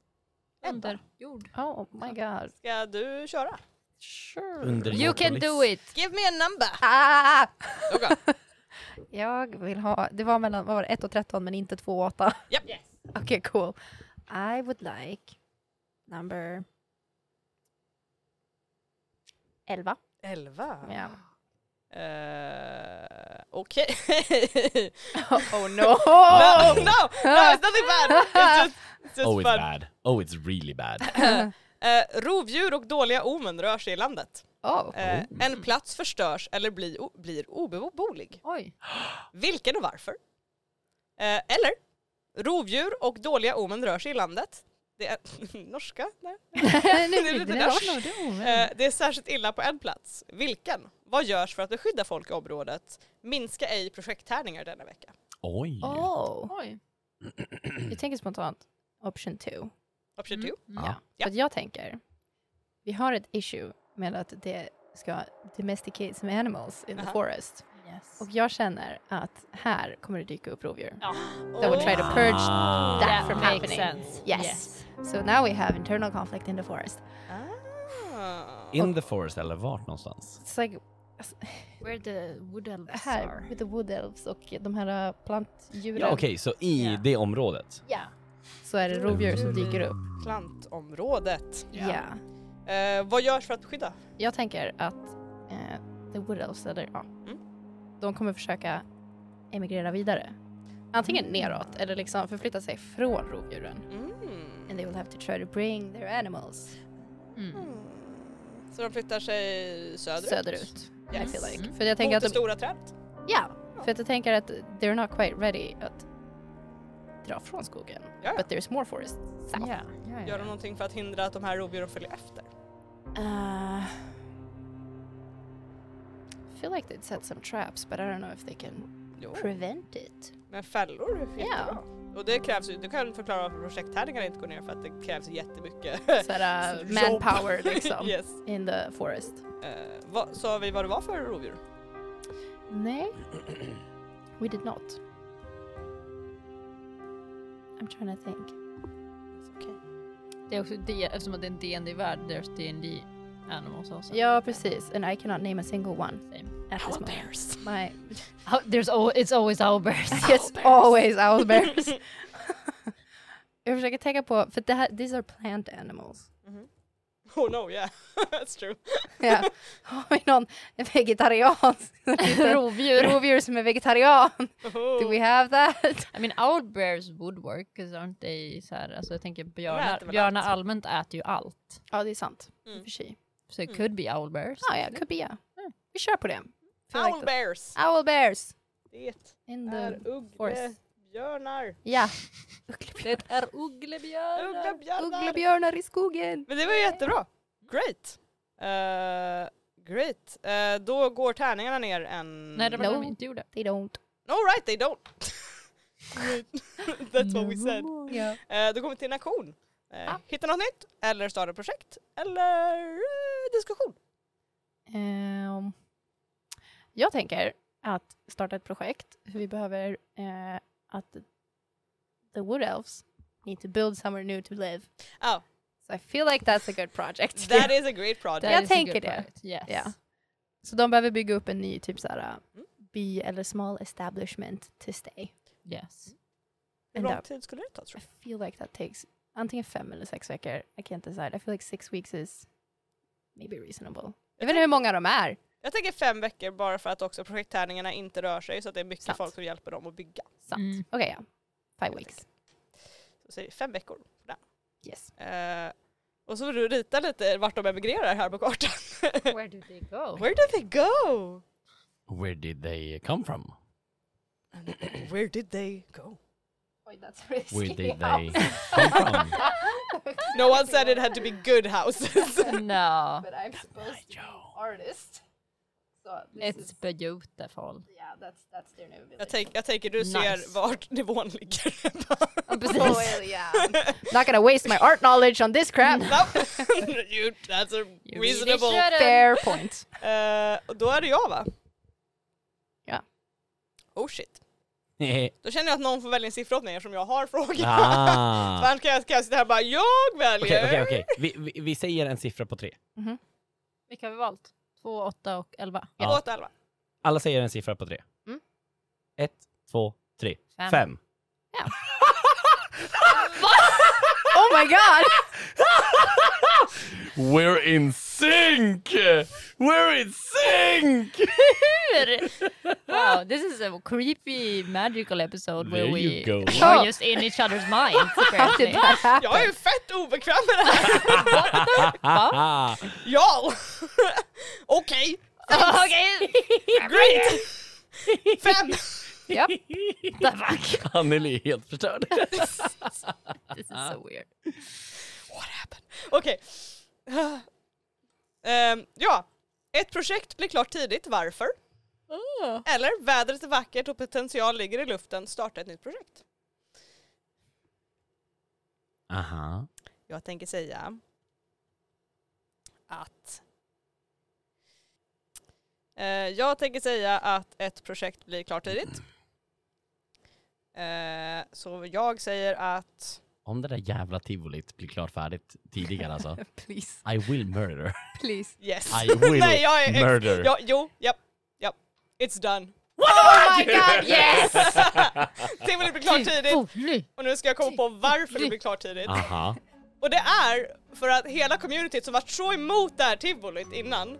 Speaker 1: Ebba.
Speaker 3: Under jord.
Speaker 2: Oh my god.
Speaker 1: Ska du köra?
Speaker 2: Sure.
Speaker 4: Under
Speaker 3: You can do it!
Speaker 1: Give me a number!
Speaker 2: Ah!
Speaker 1: Okej.
Speaker 2: Jag vill ha, det var mellan, vad var det, 1 och 13 men inte 2 och 8.
Speaker 1: Japp.
Speaker 2: Okej, okay, cool. I would like number 11.
Speaker 1: Elva.
Speaker 2: Ja.
Speaker 1: Eh, Okej.
Speaker 2: Oh no!
Speaker 1: no, no, no, it's nothing bad. It's just, it's just
Speaker 4: Oh
Speaker 1: fun.
Speaker 4: it's bad. Oh it's really bad.
Speaker 1: Eh, rovdjur och dåliga omen rör sig i landet.
Speaker 2: Oh.
Speaker 1: Eh, En plats förstörs eller blir, o- blir obeboelig.
Speaker 3: Oj.
Speaker 1: Vilken och varför? Eh, eller, rovdjur och dåliga omen rör sig i landet. Det är norska? Nej.
Speaker 3: nu
Speaker 1: blir det dash. Eh,
Speaker 2: Mm.
Speaker 1: det är särskilt illa på en plats. Vilken? Vad görs för att beskydda folk i området? Minska ej projekttärningar denna vecka.
Speaker 4: Oj.
Speaker 2: oh.
Speaker 3: Oj.
Speaker 2: Jag tänker spontant option 2.
Speaker 1: Option
Speaker 3: Mm.
Speaker 1: two.
Speaker 4: Ja.
Speaker 1: Ja.
Speaker 2: För att jag tänker, vi har ett issue med att det ska domesticate some animals in
Speaker 1: Aha.
Speaker 2: the forest.
Speaker 3: Yes.
Speaker 2: Och jag känner att här kommer det dyka upp rovdjur. That
Speaker 1: Oh.
Speaker 2: would try to purge
Speaker 4: Ah.
Speaker 2: that from
Speaker 3: That makes
Speaker 2: happening.
Speaker 3: sense.
Speaker 2: Yes.
Speaker 3: Yes.
Speaker 2: So now we have internal conflict in the forest.
Speaker 1: Ah.
Speaker 4: In the forest eller vart någonstans?
Speaker 2: It's like
Speaker 3: Where the wood elves
Speaker 2: här
Speaker 3: are.
Speaker 2: with the wood elves och de här äh, plantdjuren.
Speaker 4: Ja okej, så i
Speaker 3: Ja.
Speaker 4: det området. Mm.
Speaker 2: Ja. Så är det rovdjur som dyker upp.
Speaker 1: Plantområdet.
Speaker 2: Ja.
Speaker 1: Eh, vad görs för att skydda?
Speaker 2: Jag tänker att eh, the wood elves, eller ja,
Speaker 1: Mm.
Speaker 2: de kommer försöka emigrera vidare. Antingen neråt eller liksom förflytta sig från rovdjuren.
Speaker 1: Mm.
Speaker 2: And they will have to try to bring their animals
Speaker 3: Mm.
Speaker 1: Så de flyttar sig söderut?
Speaker 2: söderut. I
Speaker 1: Yes.
Speaker 2: feel like.
Speaker 3: Mm.
Speaker 2: För jag tänker
Speaker 1: Mot det
Speaker 2: att de,
Speaker 1: stora trädet?
Speaker 2: ja, för att jag tänker att they're not quite ready att dra från skogen.
Speaker 1: Ja, ja.
Speaker 2: But there's more forest south.
Speaker 3: Ja, ja, ja.
Speaker 1: Gör de någonting för att hindra att de här rovdjuren följer efter?
Speaker 2: Uh, I feel like they'd set some traps but I don't know if they can
Speaker 1: Jo.
Speaker 2: prevent it.
Speaker 1: Men fällor är
Speaker 2: Ja.
Speaker 1: jättebra. Och det krävs ju, du kan väl förklara varför projekthärningarna inte går ner för att det krävs jättemycket
Speaker 2: Såhär
Speaker 1: jobb.
Speaker 2: uh, manpower liksom.
Speaker 1: yes.
Speaker 2: In the forest.
Speaker 1: Eh, vad, sa vi vad det var för rovdjur?
Speaker 2: Nej. We did not. I'm trying to think.
Speaker 3: Det är också D, eftersom att det är en dd värld there's D&D animals also.
Speaker 2: Ja precis, and I cannot name a single one
Speaker 3: Same.
Speaker 2: at this moment.
Speaker 1: Owlbears.
Speaker 2: My
Speaker 3: How, there's al it's always owlbears.
Speaker 2: Yes, always owlbears. jag försöker tänka på, för det här, these are plant animals.
Speaker 1: Oh no yeah, that's true.
Speaker 2: Ja. Har vi någon vegetarian?
Speaker 3: Rovdjur.
Speaker 2: Rovdjur som är vegetarian?
Speaker 1: Oh.
Speaker 2: Do we have that?
Speaker 3: I mean owlbears would work, 'cause aren't they så här, alltså jag tänker
Speaker 1: De
Speaker 3: björnar,
Speaker 1: äter väl
Speaker 3: björnar
Speaker 1: allt.
Speaker 3: allmänt äter ju allt.
Speaker 2: Ja, det är sant. I
Speaker 1: Mm.
Speaker 2: och för sig.
Speaker 3: Så it could be owlbears.
Speaker 2: Ja, ja, could be ja. Vi kör på det. Feel like the-
Speaker 1: Owlbears!
Speaker 2: Owlbears!
Speaker 1: Det
Speaker 2: In the...
Speaker 1: är
Speaker 2: forest.
Speaker 1: ugglebjörnar.
Speaker 2: Ja.
Speaker 3: Det är ugglebjörnar.
Speaker 1: Ugglebjörnar!
Speaker 2: Ugglebjörnar i skogen!
Speaker 1: Men det var ju jättebra. Great. Eh, great. Eh, då går tärningarna ner en...
Speaker 3: Nej, det var det de
Speaker 2: No.
Speaker 3: inte gjorde.
Speaker 2: They don't.
Speaker 1: No right they don't. That's what we said.
Speaker 2: Ja.
Speaker 1: Eh, då kommer vi till en aktion.
Speaker 3: Ah.
Speaker 1: Eh, Hitta något nytt, eller starta ett projekt, eller eh, diskussion.
Speaker 2: Ehm, jag tänker att starta ett projekt. För vi behöver eh, att the wood elves need to build somewhere new to live.
Speaker 1: Oh,
Speaker 2: So I feel like that's a good project.
Speaker 1: that is a great project.
Speaker 2: Jag
Speaker 3: That is a
Speaker 2: tänker
Speaker 3: good
Speaker 2: det.
Speaker 3: point. Yes.
Speaker 2: Ja. Så de behöver bygga upp en ny typ så här by eller small establishment to stay.
Speaker 3: Yes.
Speaker 1: Hur
Speaker 2: And
Speaker 1: lång
Speaker 2: up.
Speaker 1: tid skulle det ta tror
Speaker 2: I feel like that takes antingen fem eller sex veckor. I can't decide. I feel like six weeks is maybe reasonable. Jag vet inte hur många de är.
Speaker 1: Jag tänker fem veckor bara för att också projekttärningarna inte rör sig så att det är mycket
Speaker 2: Sant.
Speaker 1: folk som hjälper dem att bygga.
Speaker 2: Sant.
Speaker 3: Mm.
Speaker 2: Okej, ja. Five weeks.
Speaker 1: Så säger vi fem veckor. för den.
Speaker 2: Yes.
Speaker 1: Eh, och så får du rita lite vart de emigrerar här på kartan.
Speaker 3: Where do they go?
Speaker 1: Where did they go?
Speaker 4: Where did they come from?
Speaker 1: Where did they go?
Speaker 2: Oj, that's risky.
Speaker 4: Where did they come from?
Speaker 1: No one said it had to be good houses.
Speaker 3: No,
Speaker 2: But I'm supposed to be an artist. So this
Speaker 3: it's beautiful.
Speaker 2: yeah, that's, that's their new
Speaker 1: jag, tänk, jag tänker du ser
Speaker 3: Nice.
Speaker 1: vart nivån ligger.
Speaker 2: Oh, well, yeah. Not gonna waste my art knowledge on this crap.
Speaker 1: no. you, that's a
Speaker 3: You
Speaker 1: reasonable.
Speaker 3: really
Speaker 2: Fair point.
Speaker 1: Eh, och då är det jag va?
Speaker 2: Ja.
Speaker 1: Oh shit. Då känner jag att någon får välja en siffra åt mig eftersom jag har frågan.
Speaker 4: ah.
Speaker 1: För annars kan jag, kan jag sitta här och bara jag väljer.
Speaker 4: Okej, okej, okej. Vi- vi- Vi säger en siffra på tre.
Speaker 3: Vilka har vi valt? 2, 8 och 11.
Speaker 1: Vi
Speaker 4: Ja.
Speaker 1: låter alla.
Speaker 4: Alla säger en siffra på tre.
Speaker 2: Mm.
Speaker 4: Ett, två, tre.
Speaker 3: Fem.
Speaker 4: Fem.
Speaker 2: Oh my god!
Speaker 4: We're in sync! We're in sync!
Speaker 3: Hur? Wow, this is a creepy magical episode where
Speaker 4: There
Speaker 3: we
Speaker 4: you go.
Speaker 3: are just in each other's minds. apparently.
Speaker 1: Jag är ju fett obekväm med det här. Ja! Okej,
Speaker 3: Okej,
Speaker 1: great! Fem!
Speaker 2: Yep.
Speaker 3: the fuck?
Speaker 4: Anneli är helt förstörd.
Speaker 3: This is so weird.
Speaker 1: What happened? Okej. Ehm, ja. Ett projekt blir klart tidigt, varför? Eller vädret är vackert och potential ligger i luften, starta ett nytt projekt.
Speaker 4: Aha.
Speaker 1: Jag tänker säga att eh, jag tänker säga att ett projekt blir klart tidigt. Eh, så jag säger att
Speaker 4: Om det där jävla tivolit blir klart färdigt tidigare alltså.
Speaker 2: Please,
Speaker 4: I will murder.
Speaker 2: please.
Speaker 1: yes.
Speaker 4: I will
Speaker 1: Nej, jag är ex-
Speaker 4: murder.
Speaker 1: Ja, jo, japp, japp. It's done.
Speaker 2: Oh my god, yes! Typ,
Speaker 1: Tivolit blir klart tidigt och nu ska jag komma på varför det blir klart tidigt.
Speaker 4: Aha.
Speaker 1: Och det är för att hela communityt som varit så emot det här tivolit innan,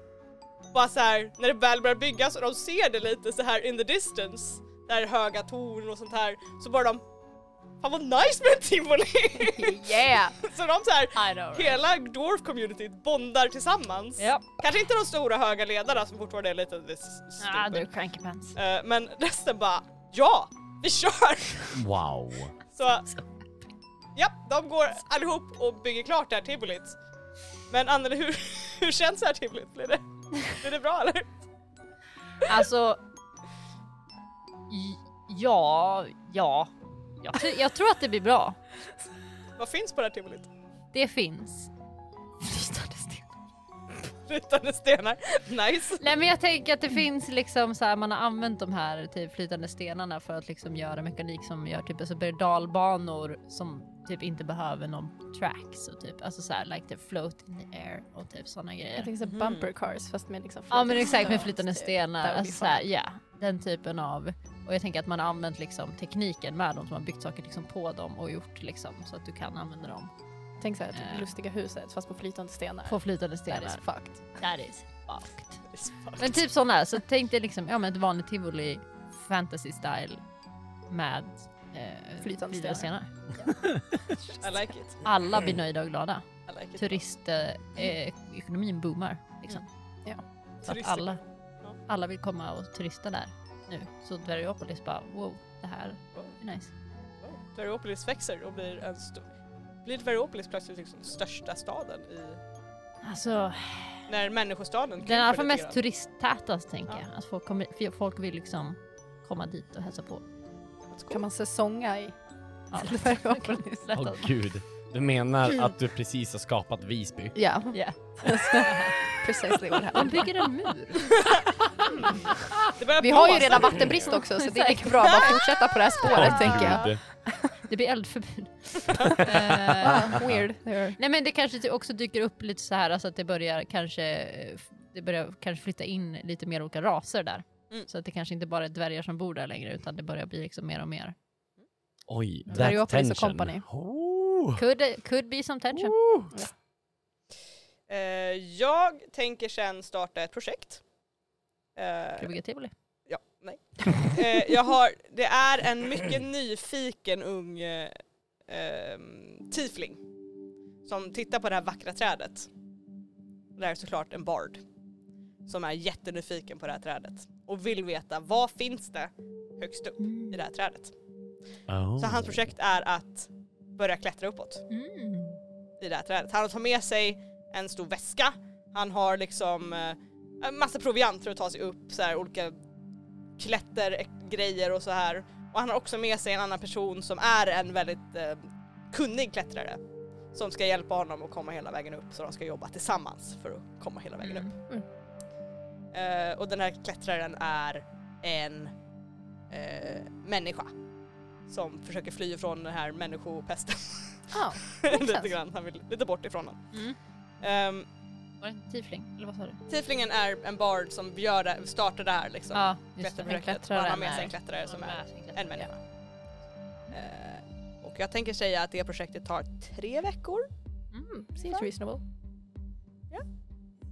Speaker 1: bara så här, när det väl börjar byggas och de ser det lite så här in the distance, där höga torn och sånt här, så bara de Fan vad nice med ett tivoli!
Speaker 2: Yeah!
Speaker 1: så de så här,
Speaker 3: I know, right?
Speaker 1: hela dwarf communityt bondar tillsammans.
Speaker 3: Japp.
Speaker 1: Kanske inte de stora höga ledarna som fortfarande är lite this
Speaker 3: Ah,
Speaker 1: stupid.
Speaker 3: du cranky pants.
Speaker 1: Eh, men resten bara, ja! Vi kör!
Speaker 4: Wow.
Speaker 1: Så ja, de går allihop och bygger klart det här tivolit. Men Anneli, hur, hur känns det här tivolit? Blir det, blir det bra eller?
Speaker 3: Alltså... j- Ja, ja. Jag, tr- jag tror att det blir bra.
Speaker 1: Vad finns på det här tivolit?
Speaker 3: Det finns. Flytande sten.
Speaker 1: Flytande stenar. Nice.
Speaker 3: Nej men jag tänker att det finns liksom så här, man har använt de här typ flytande stenarna för att liksom göra mekanik som gör typ alltså dalbanor som typ inte behöver någon tracks och typ alltså så här like the float in the air och typ sådana
Speaker 2: Jag
Speaker 3: grejer.
Speaker 2: tänkte så bumper cars fast med liksom
Speaker 3: Ja men exakt med
Speaker 2: stones,
Speaker 3: flytande
Speaker 2: typ. That
Speaker 3: stenar,
Speaker 2: would be
Speaker 3: alltså så
Speaker 2: fun.
Speaker 3: här, ja, den typen av och jag tänker att man har använt liksom tekniken med dem, så man har byggt saker liksom på dem och gjort liksom så att du kan använda dem
Speaker 2: Tänk såhär, typ
Speaker 3: Eh.
Speaker 2: lustiga huset fast på flytande stenar.
Speaker 3: på flytande
Speaker 2: That is
Speaker 3: stenar.
Speaker 2: fucked.
Speaker 3: That is fucked. Men typ sådana, så tänk dig liksom, ja men ett vanligt tivoli fantasy style med eh,
Speaker 2: Flytande
Speaker 3: flytande stenar.
Speaker 1: I like it.
Speaker 3: Alla blir nöjda och glada.
Speaker 1: I like it.
Speaker 3: Typ Turistekonomin eh, ekonomin boomar. Liksom.
Speaker 2: Ja.
Speaker 3: Så att
Speaker 1: Turist-
Speaker 3: alla,
Speaker 1: Ja.
Speaker 3: alla vill komma och turista där nu. Så Dvergopolis bara wow, det här är nice.
Speaker 1: Oh, Dvergopolis växer och blir en stor... Blir Dvergopolis plötsligt liksom största staden i...
Speaker 3: Alltså,
Speaker 1: När människostaden
Speaker 3: den är i
Speaker 1: krymper
Speaker 3: alla fall
Speaker 1: lite
Speaker 3: mest
Speaker 1: grann.
Speaker 3: turisttätast tänker
Speaker 1: Ja.
Speaker 3: jag. Att folk, kommer, för folk vill liksom komma dit och hälsa på.
Speaker 1: Let's go.
Speaker 2: Kan man säsonga i
Speaker 3: Ja.
Speaker 2: Dvergopolis?
Speaker 3: Lätt
Speaker 4: Åh
Speaker 3: att-
Speaker 4: gud. Du menar att du precis har skapat Visby?
Speaker 2: Ja,
Speaker 3: Ja.
Speaker 2: precisely what
Speaker 3: De
Speaker 2: happened.
Speaker 3: bygger en mur.
Speaker 1: Det börjar
Speaker 2: Vi har ju
Speaker 1: blåsa.
Speaker 2: redan vattenbrist också så det är lika bra att bara fortsätta på det här spåret
Speaker 4: Åh,
Speaker 2: tänker jag.
Speaker 4: gud.
Speaker 3: Det blir eldförbud. Eh,
Speaker 2: Ah, weird. They're...
Speaker 3: Nej men det kanske ty- också dyker upp lite så här alltså att det börjar kanske eh, f- det börjar kanske flytta in lite mer olika raser där.
Speaker 1: Mm.
Speaker 3: Så att det kanske inte bara är dvärgar som bor där längre utan det börjar bli liksom mer och mer.
Speaker 4: Oj, that
Speaker 2: Dvariopolis och
Speaker 4: tension.
Speaker 2: company.
Speaker 4: Oh.
Speaker 3: Could, eh, could be some tension.
Speaker 4: Oh.
Speaker 1: Eh, jag tänker sen starta ett projekt. Eh,
Speaker 3: Ska vi bygga tivoli?
Speaker 1: Ja, nej. eh, jag har, det är en mycket nyfiken ung eh, ehm, tiefling som tittar på det här vackra trädet. Det här är såklart en bard som är jättenyfiken på det här trädet och vill veta vad finns det högst upp i Mm. det här trädet.
Speaker 4: Oh.
Speaker 1: Så hans projekt är att börja klättra uppåt
Speaker 3: Mm.
Speaker 1: i det här trädet. Han tar med sig en stor väska, han har liksom eh, en massa proviant för att ta sig upp, så här, olika klättergrejer och så här. Och han har också med sig en annan person som är en väldigt eh, kunnig klättrare som ska hjälpa honom att komma hela vägen upp så de ska jobba tillsammans för att komma hela vägen upp.
Speaker 3: Mm.
Speaker 1: Eh, och den här klättraren är en eh, människa som försöker fly från den här människopesten.
Speaker 3: Ah,
Speaker 1: lite
Speaker 3: sense.
Speaker 1: grann, han vill lite bort ifrån den.
Speaker 3: Mm.
Speaker 1: Ehm,
Speaker 3: Var det en tiefling? Eller vad sa du?
Speaker 1: Tieflingen är en bard som gör det, startar det här liksom.
Speaker 3: Ja, just det.
Speaker 1: Klätterprojektet. Och Han har med sig en klättrare som är en människa. Eh, och jag tänker säga att det projektet tar tre veckor.
Speaker 3: Mm.
Speaker 2: Seems reasonable.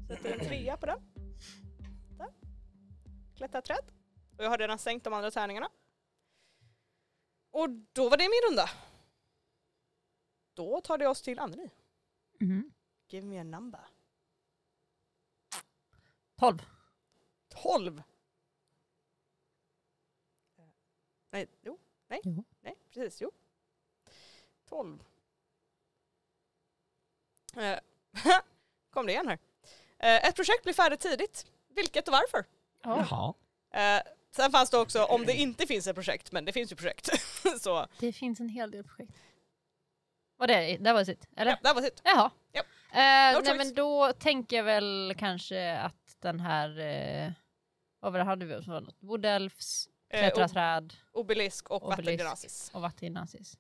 Speaker 1: Sätter en trea på den. Där. Klättra träd. Och jag har redan sänkt de andra tärningarna. Och då var det min runda. Då tar det oss till Anneli.
Speaker 3: Mm.
Speaker 1: Give me a number.
Speaker 3: 12.
Speaker 1: 12! Eh, Nej, jo, nej,
Speaker 3: Jo.
Speaker 1: nej, precis, jo. 12. Eh, Kom det igen här. Eh, Ett projekt blir färdigt tidigt. Vilket och varför?
Speaker 4: Jaha.
Speaker 1: Eh, Sen fanns det också om det inte finns ett projekt, men det finns ju projekt. Så
Speaker 3: Det finns en hel del projekt. Och det, där var sitt, eller?
Speaker 1: ja, det här var sitt.
Speaker 3: Jaha.
Speaker 1: Ja.
Speaker 3: Eh,
Speaker 1: No
Speaker 3: nej,
Speaker 1: choice.
Speaker 3: men då tänker jag väl kanske att den här... Eh, vad var det hade vi? som var något? Wood Elves,
Speaker 1: Eh,
Speaker 3: klättra
Speaker 1: ob-
Speaker 3: träd
Speaker 1: Obelisk och
Speaker 3: Obelisk.
Speaker 1: vattengymnasis.
Speaker 3: och vattennasis.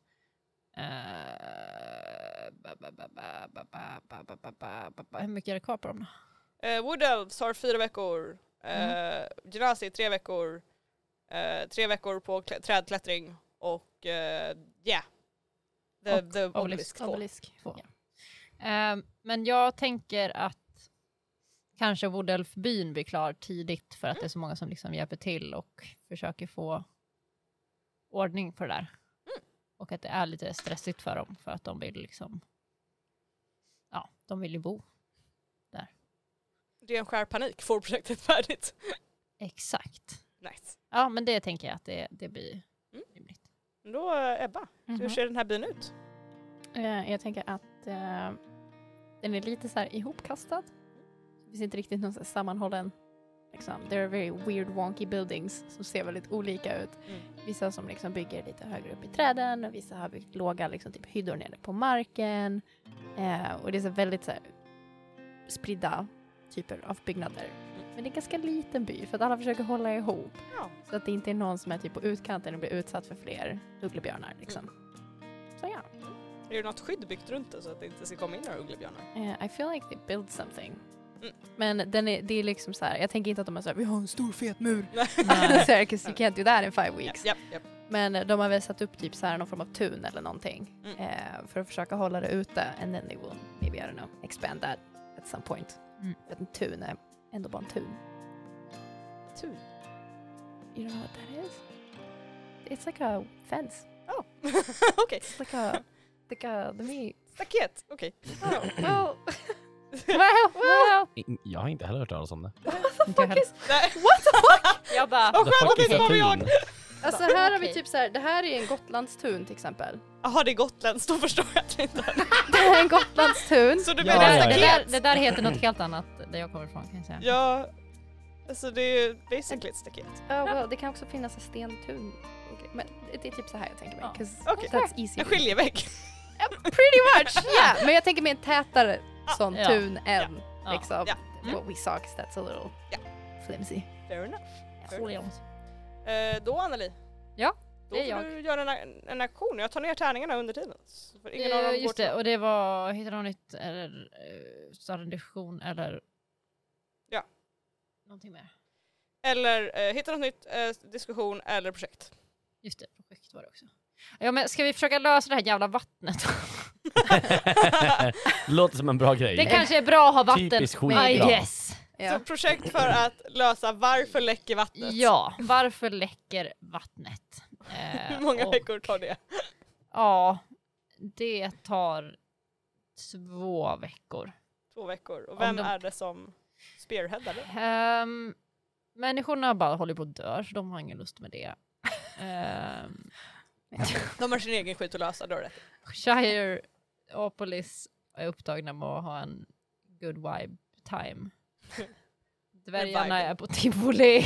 Speaker 3: Eh, ba, ba, ba, ba, ba, ba, ba, ba, ba, ba, ba, ba. Hur mycket är det kvar på dem då?
Speaker 1: Eh, Wood Elves har fyra veckor. Eh, Genasi tre veckor. Eh, tre veckor på klä- trädklättring. Och eh, yeah. The,
Speaker 3: Och
Speaker 1: the obelisk två.
Speaker 2: Obelisk.
Speaker 3: Två. Ehm, men jag tänker att kanske Wodelfbyn blir klar tidigt för att det är så många som liksom hjälper till och försöker få ordning på det där. Och att det är lite stressigt för dem för att de vill liksom ja, de vill ju bo.
Speaker 1: Det är en skär panik. Får projektet färdigt?
Speaker 3: Exakt.
Speaker 1: nice.
Speaker 3: Ja, men det tänker jag att det, det blir
Speaker 1: Mm.
Speaker 3: rimligt.
Speaker 1: Men Då eh, Ebba, hur
Speaker 2: Mhm.
Speaker 1: ser den här byn ut?
Speaker 2: Eh, jag tänker att eh, den är lite så här ihopkastad. Det finns inte riktigt någon så här sammanhållen. Liksom. There are very weird wonky buildings som ser väldigt olika ut.
Speaker 1: Mm.
Speaker 2: Vissa som liksom bygger lite högre upp i träden och vissa har byggt låga liksom, typ hyddor nere på marken. Eh, och det är så väldigt så här, spridda typer av byggnader. Men det är en ganska liten by för att alla försöker hålla ihop.
Speaker 1: Ja.
Speaker 2: Så att det inte är någon som är typ på utkanten och blir utsatt för fler ugglebjörnar. Liksom. Så ja.
Speaker 1: Är det något skydd byggt runt det så att det inte ska komma in några ugglebjörnar?
Speaker 2: Eh, I feel like they build something.
Speaker 1: Mm.
Speaker 2: Men den är, det är liksom så här, jag tänker inte att de har så här, vi har en stor fet mur.
Speaker 3: Nej.
Speaker 2: så här, 'cause you can't do that in five
Speaker 1: Ja,
Speaker 2: weeks.
Speaker 1: ja, ja.
Speaker 2: Men eh, de har väl satt upp typ så här någon form av tun eller någonting
Speaker 1: Mm.
Speaker 2: eh, för att försöka hålla det ute and then they will maybe, I don't know, expand that at some point.
Speaker 3: Mm.
Speaker 2: För att en tun är ändå bara en tun. Tun? You don't know what that is? It's like a fence.
Speaker 1: Oh. Okej,
Speaker 2: It's like a, like a, let me,
Speaker 1: staket. Okej.
Speaker 2: oh, well, well, well.
Speaker 4: I- Jag har inte heller hört talas om det.
Speaker 3: Inte jag heller.
Speaker 1: Nej.
Speaker 3: Jag bara,
Speaker 1: Vad
Speaker 4: The
Speaker 1: skönt
Speaker 4: fuck
Speaker 1: att det
Speaker 4: is a
Speaker 1: inte var jag!
Speaker 4: tun?
Speaker 2: Alltså här har vi
Speaker 3: Okej.
Speaker 2: typ så här, det här är en Gotlandstun till exempel.
Speaker 1: Jaha, det är gotländskt, då förstår jag att det inte är.
Speaker 2: Det här är en Gotlandstun.
Speaker 1: Så du
Speaker 4: Ja,
Speaker 1: menar
Speaker 4: ja, ja.
Speaker 3: det,
Speaker 1: staket?
Speaker 3: där, det där heter något helt annat där jag kommer ifrån kan jag säga.
Speaker 1: Ja, alltså det är ju basically ett staket.
Speaker 2: Ja, well, det kan också finnas en stentun. Okej, Men det- det är typ så här jag tänker mig.
Speaker 3: Ja.
Speaker 2: 'cause
Speaker 1: Okej.
Speaker 2: That's easy.
Speaker 1: En skiljevägg.
Speaker 2: Pretty much! yeah. Men jag tänker mig en tätare sån
Speaker 3: Ja.
Speaker 2: tun än
Speaker 3: Ja.
Speaker 2: liksom
Speaker 1: Ja.
Speaker 3: Mm.
Speaker 2: what we saw 'cause that's a little
Speaker 1: Ja.
Speaker 2: flimsy.
Speaker 1: Fair enough.
Speaker 3: Oleon.
Speaker 1: Eh, då Anneli.
Speaker 3: Ja,
Speaker 1: Då
Speaker 3: det
Speaker 1: får
Speaker 3: är
Speaker 1: du göra en, en aktion. Jag tar ner tärningarna under tiden. Så får ingen av
Speaker 3: Eh,
Speaker 1: dem går
Speaker 3: Just
Speaker 1: till-
Speaker 3: det, eh, och det var, hittar något nytt eller uh, eller?
Speaker 1: Ja.
Speaker 3: någonting mer?
Speaker 1: Eller eh, hitta något nytt, eh, diskussion eller projekt.
Speaker 3: Just det, projekt var det också. Ja, men ska vi försöka lösa det här jävla vattnet?
Speaker 4: Låter som en bra grej.
Speaker 3: Det kanske är bra att ha vatten. Ah,
Speaker 4: Typiskt skitbra.
Speaker 3: I guess.
Speaker 2: Ja.
Speaker 1: Så projekt för att lösa varför läcker vattnet?
Speaker 3: Ja, varför läcker vattnet? Eh,
Speaker 1: Hur många
Speaker 3: och-
Speaker 1: veckor tar det?
Speaker 3: Ja, det tar två veckor.
Speaker 1: Två veckor. Och vem
Speaker 3: de-
Speaker 1: är det som spearheadar det?
Speaker 3: Ehm, människorna bara håller på att dö, så de har ingen lust med det. Um,
Speaker 1: De har sin egen skit att lösa, då är det rätt.
Speaker 3: Shire Opolis är upptagna med att ha en good vibe time. Dvärgarna
Speaker 1: viben.
Speaker 3: är på tivoli.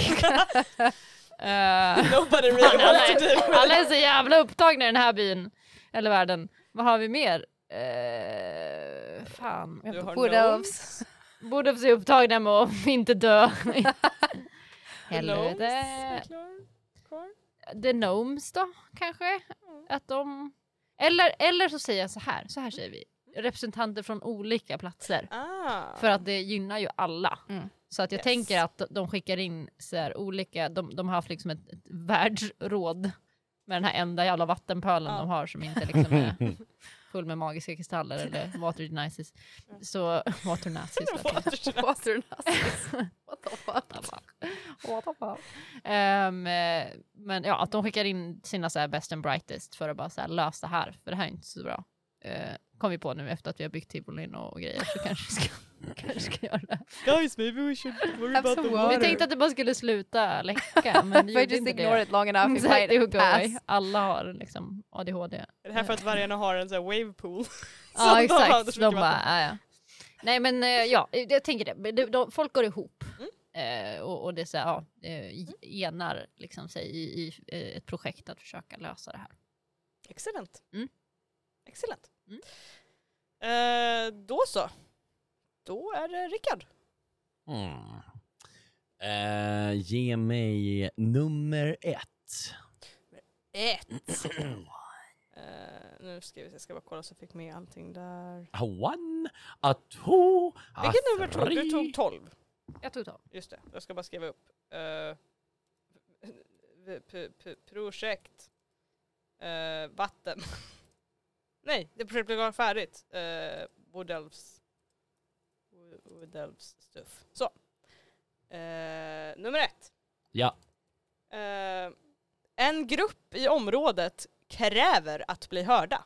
Speaker 3: Ehm,
Speaker 1: Nobody really
Speaker 3: Fan,
Speaker 1: wants to
Speaker 3: alla,
Speaker 1: do
Speaker 3: är, alla är så jävla upptagna i den här byn. Eller världen. Vad har vi mer? Eh, fan.
Speaker 1: Du har
Speaker 2: Borde
Speaker 1: noll.
Speaker 2: avs-
Speaker 3: Borde se upptagna med att inte dö.
Speaker 1: Gnomes
Speaker 3: Helvete.
Speaker 1: är klar. Kvar.
Speaker 3: The Gnomes då, kanske?
Speaker 1: Mm.
Speaker 3: Att de... Eller, eller så säger jag så här, så här säger vi. Representanter från olika platser.
Speaker 1: Ah.
Speaker 3: För att det gynnar ju alla.
Speaker 2: Mm.
Speaker 3: Så att jag
Speaker 1: Yes.
Speaker 3: tänker att de- de skickar in så här olika, de, de har haft liksom ett, ett världsråd med den här enda jävla vattenpölen
Speaker 1: Ja.
Speaker 3: de har som inte liksom
Speaker 4: Mm.
Speaker 3: är full med magiska kristaller eller water nazis.
Speaker 1: Mm.
Speaker 3: Så water nazis. verkligen.
Speaker 2: What the fuck?
Speaker 3: Ehm, eh, men ja, att de skickar in sina så här best and brightest för att bara så här lösa det här, för det här är inte så bra. Eh, kom vi på nu efter att vi har byggt tivolin och, och grejer så kanske ska, kanske ska göra det.
Speaker 1: Guys, maybe we should worry
Speaker 2: Have
Speaker 1: about the
Speaker 2: some
Speaker 1: water.
Speaker 2: water.
Speaker 3: Vi tänkte att det bara skulle sluta läcka, men det
Speaker 2: If I
Speaker 3: gjorde
Speaker 2: just
Speaker 3: inte
Speaker 2: ignore
Speaker 3: det.
Speaker 2: it long enough, it
Speaker 3: Så att det
Speaker 2: might
Speaker 3: går
Speaker 2: pass.
Speaker 3: away. Alla har liksom ADHD.
Speaker 1: Är det här för att vargarna har en sån här wave pool?
Speaker 3: Ja
Speaker 1: de har
Speaker 3: exakt,
Speaker 1: så
Speaker 3: så
Speaker 1: mycket
Speaker 3: de bara, ja, ja. Nej men eh, ja, jag tänker det. Men De, de, folk går ihop.
Speaker 1: Mm.
Speaker 3: Eh, och, och det är så här, ja, eh, enar liksom sig i, i eh, ett projekt att försöka lösa det här.
Speaker 1: Excellent.
Speaker 3: Mm.
Speaker 1: Excellent.
Speaker 3: Mm.
Speaker 1: Eh, då så. Då är det Rickard.
Speaker 4: Mm. Eh, ge mig nummer ett.
Speaker 1: Ett. Eh, nu ska vi se, jag ska bara kolla så jag fick med allting där.
Speaker 4: A one, a two, a
Speaker 1: Vilket nummer tog du?
Speaker 4: three.
Speaker 1: Du tog 12.
Speaker 3: Jag tog tag.
Speaker 1: Just det, jag ska bara skriva upp. Eh, p- p- p- projekt. Eh, vatten. Nej, det projektet blev färdigt. Uh, Woodelfs. Woodelfs stuff. Så. Eh, nummer ett.
Speaker 4: Ja.
Speaker 1: Eh, en grupp i området kräver att bli hörda.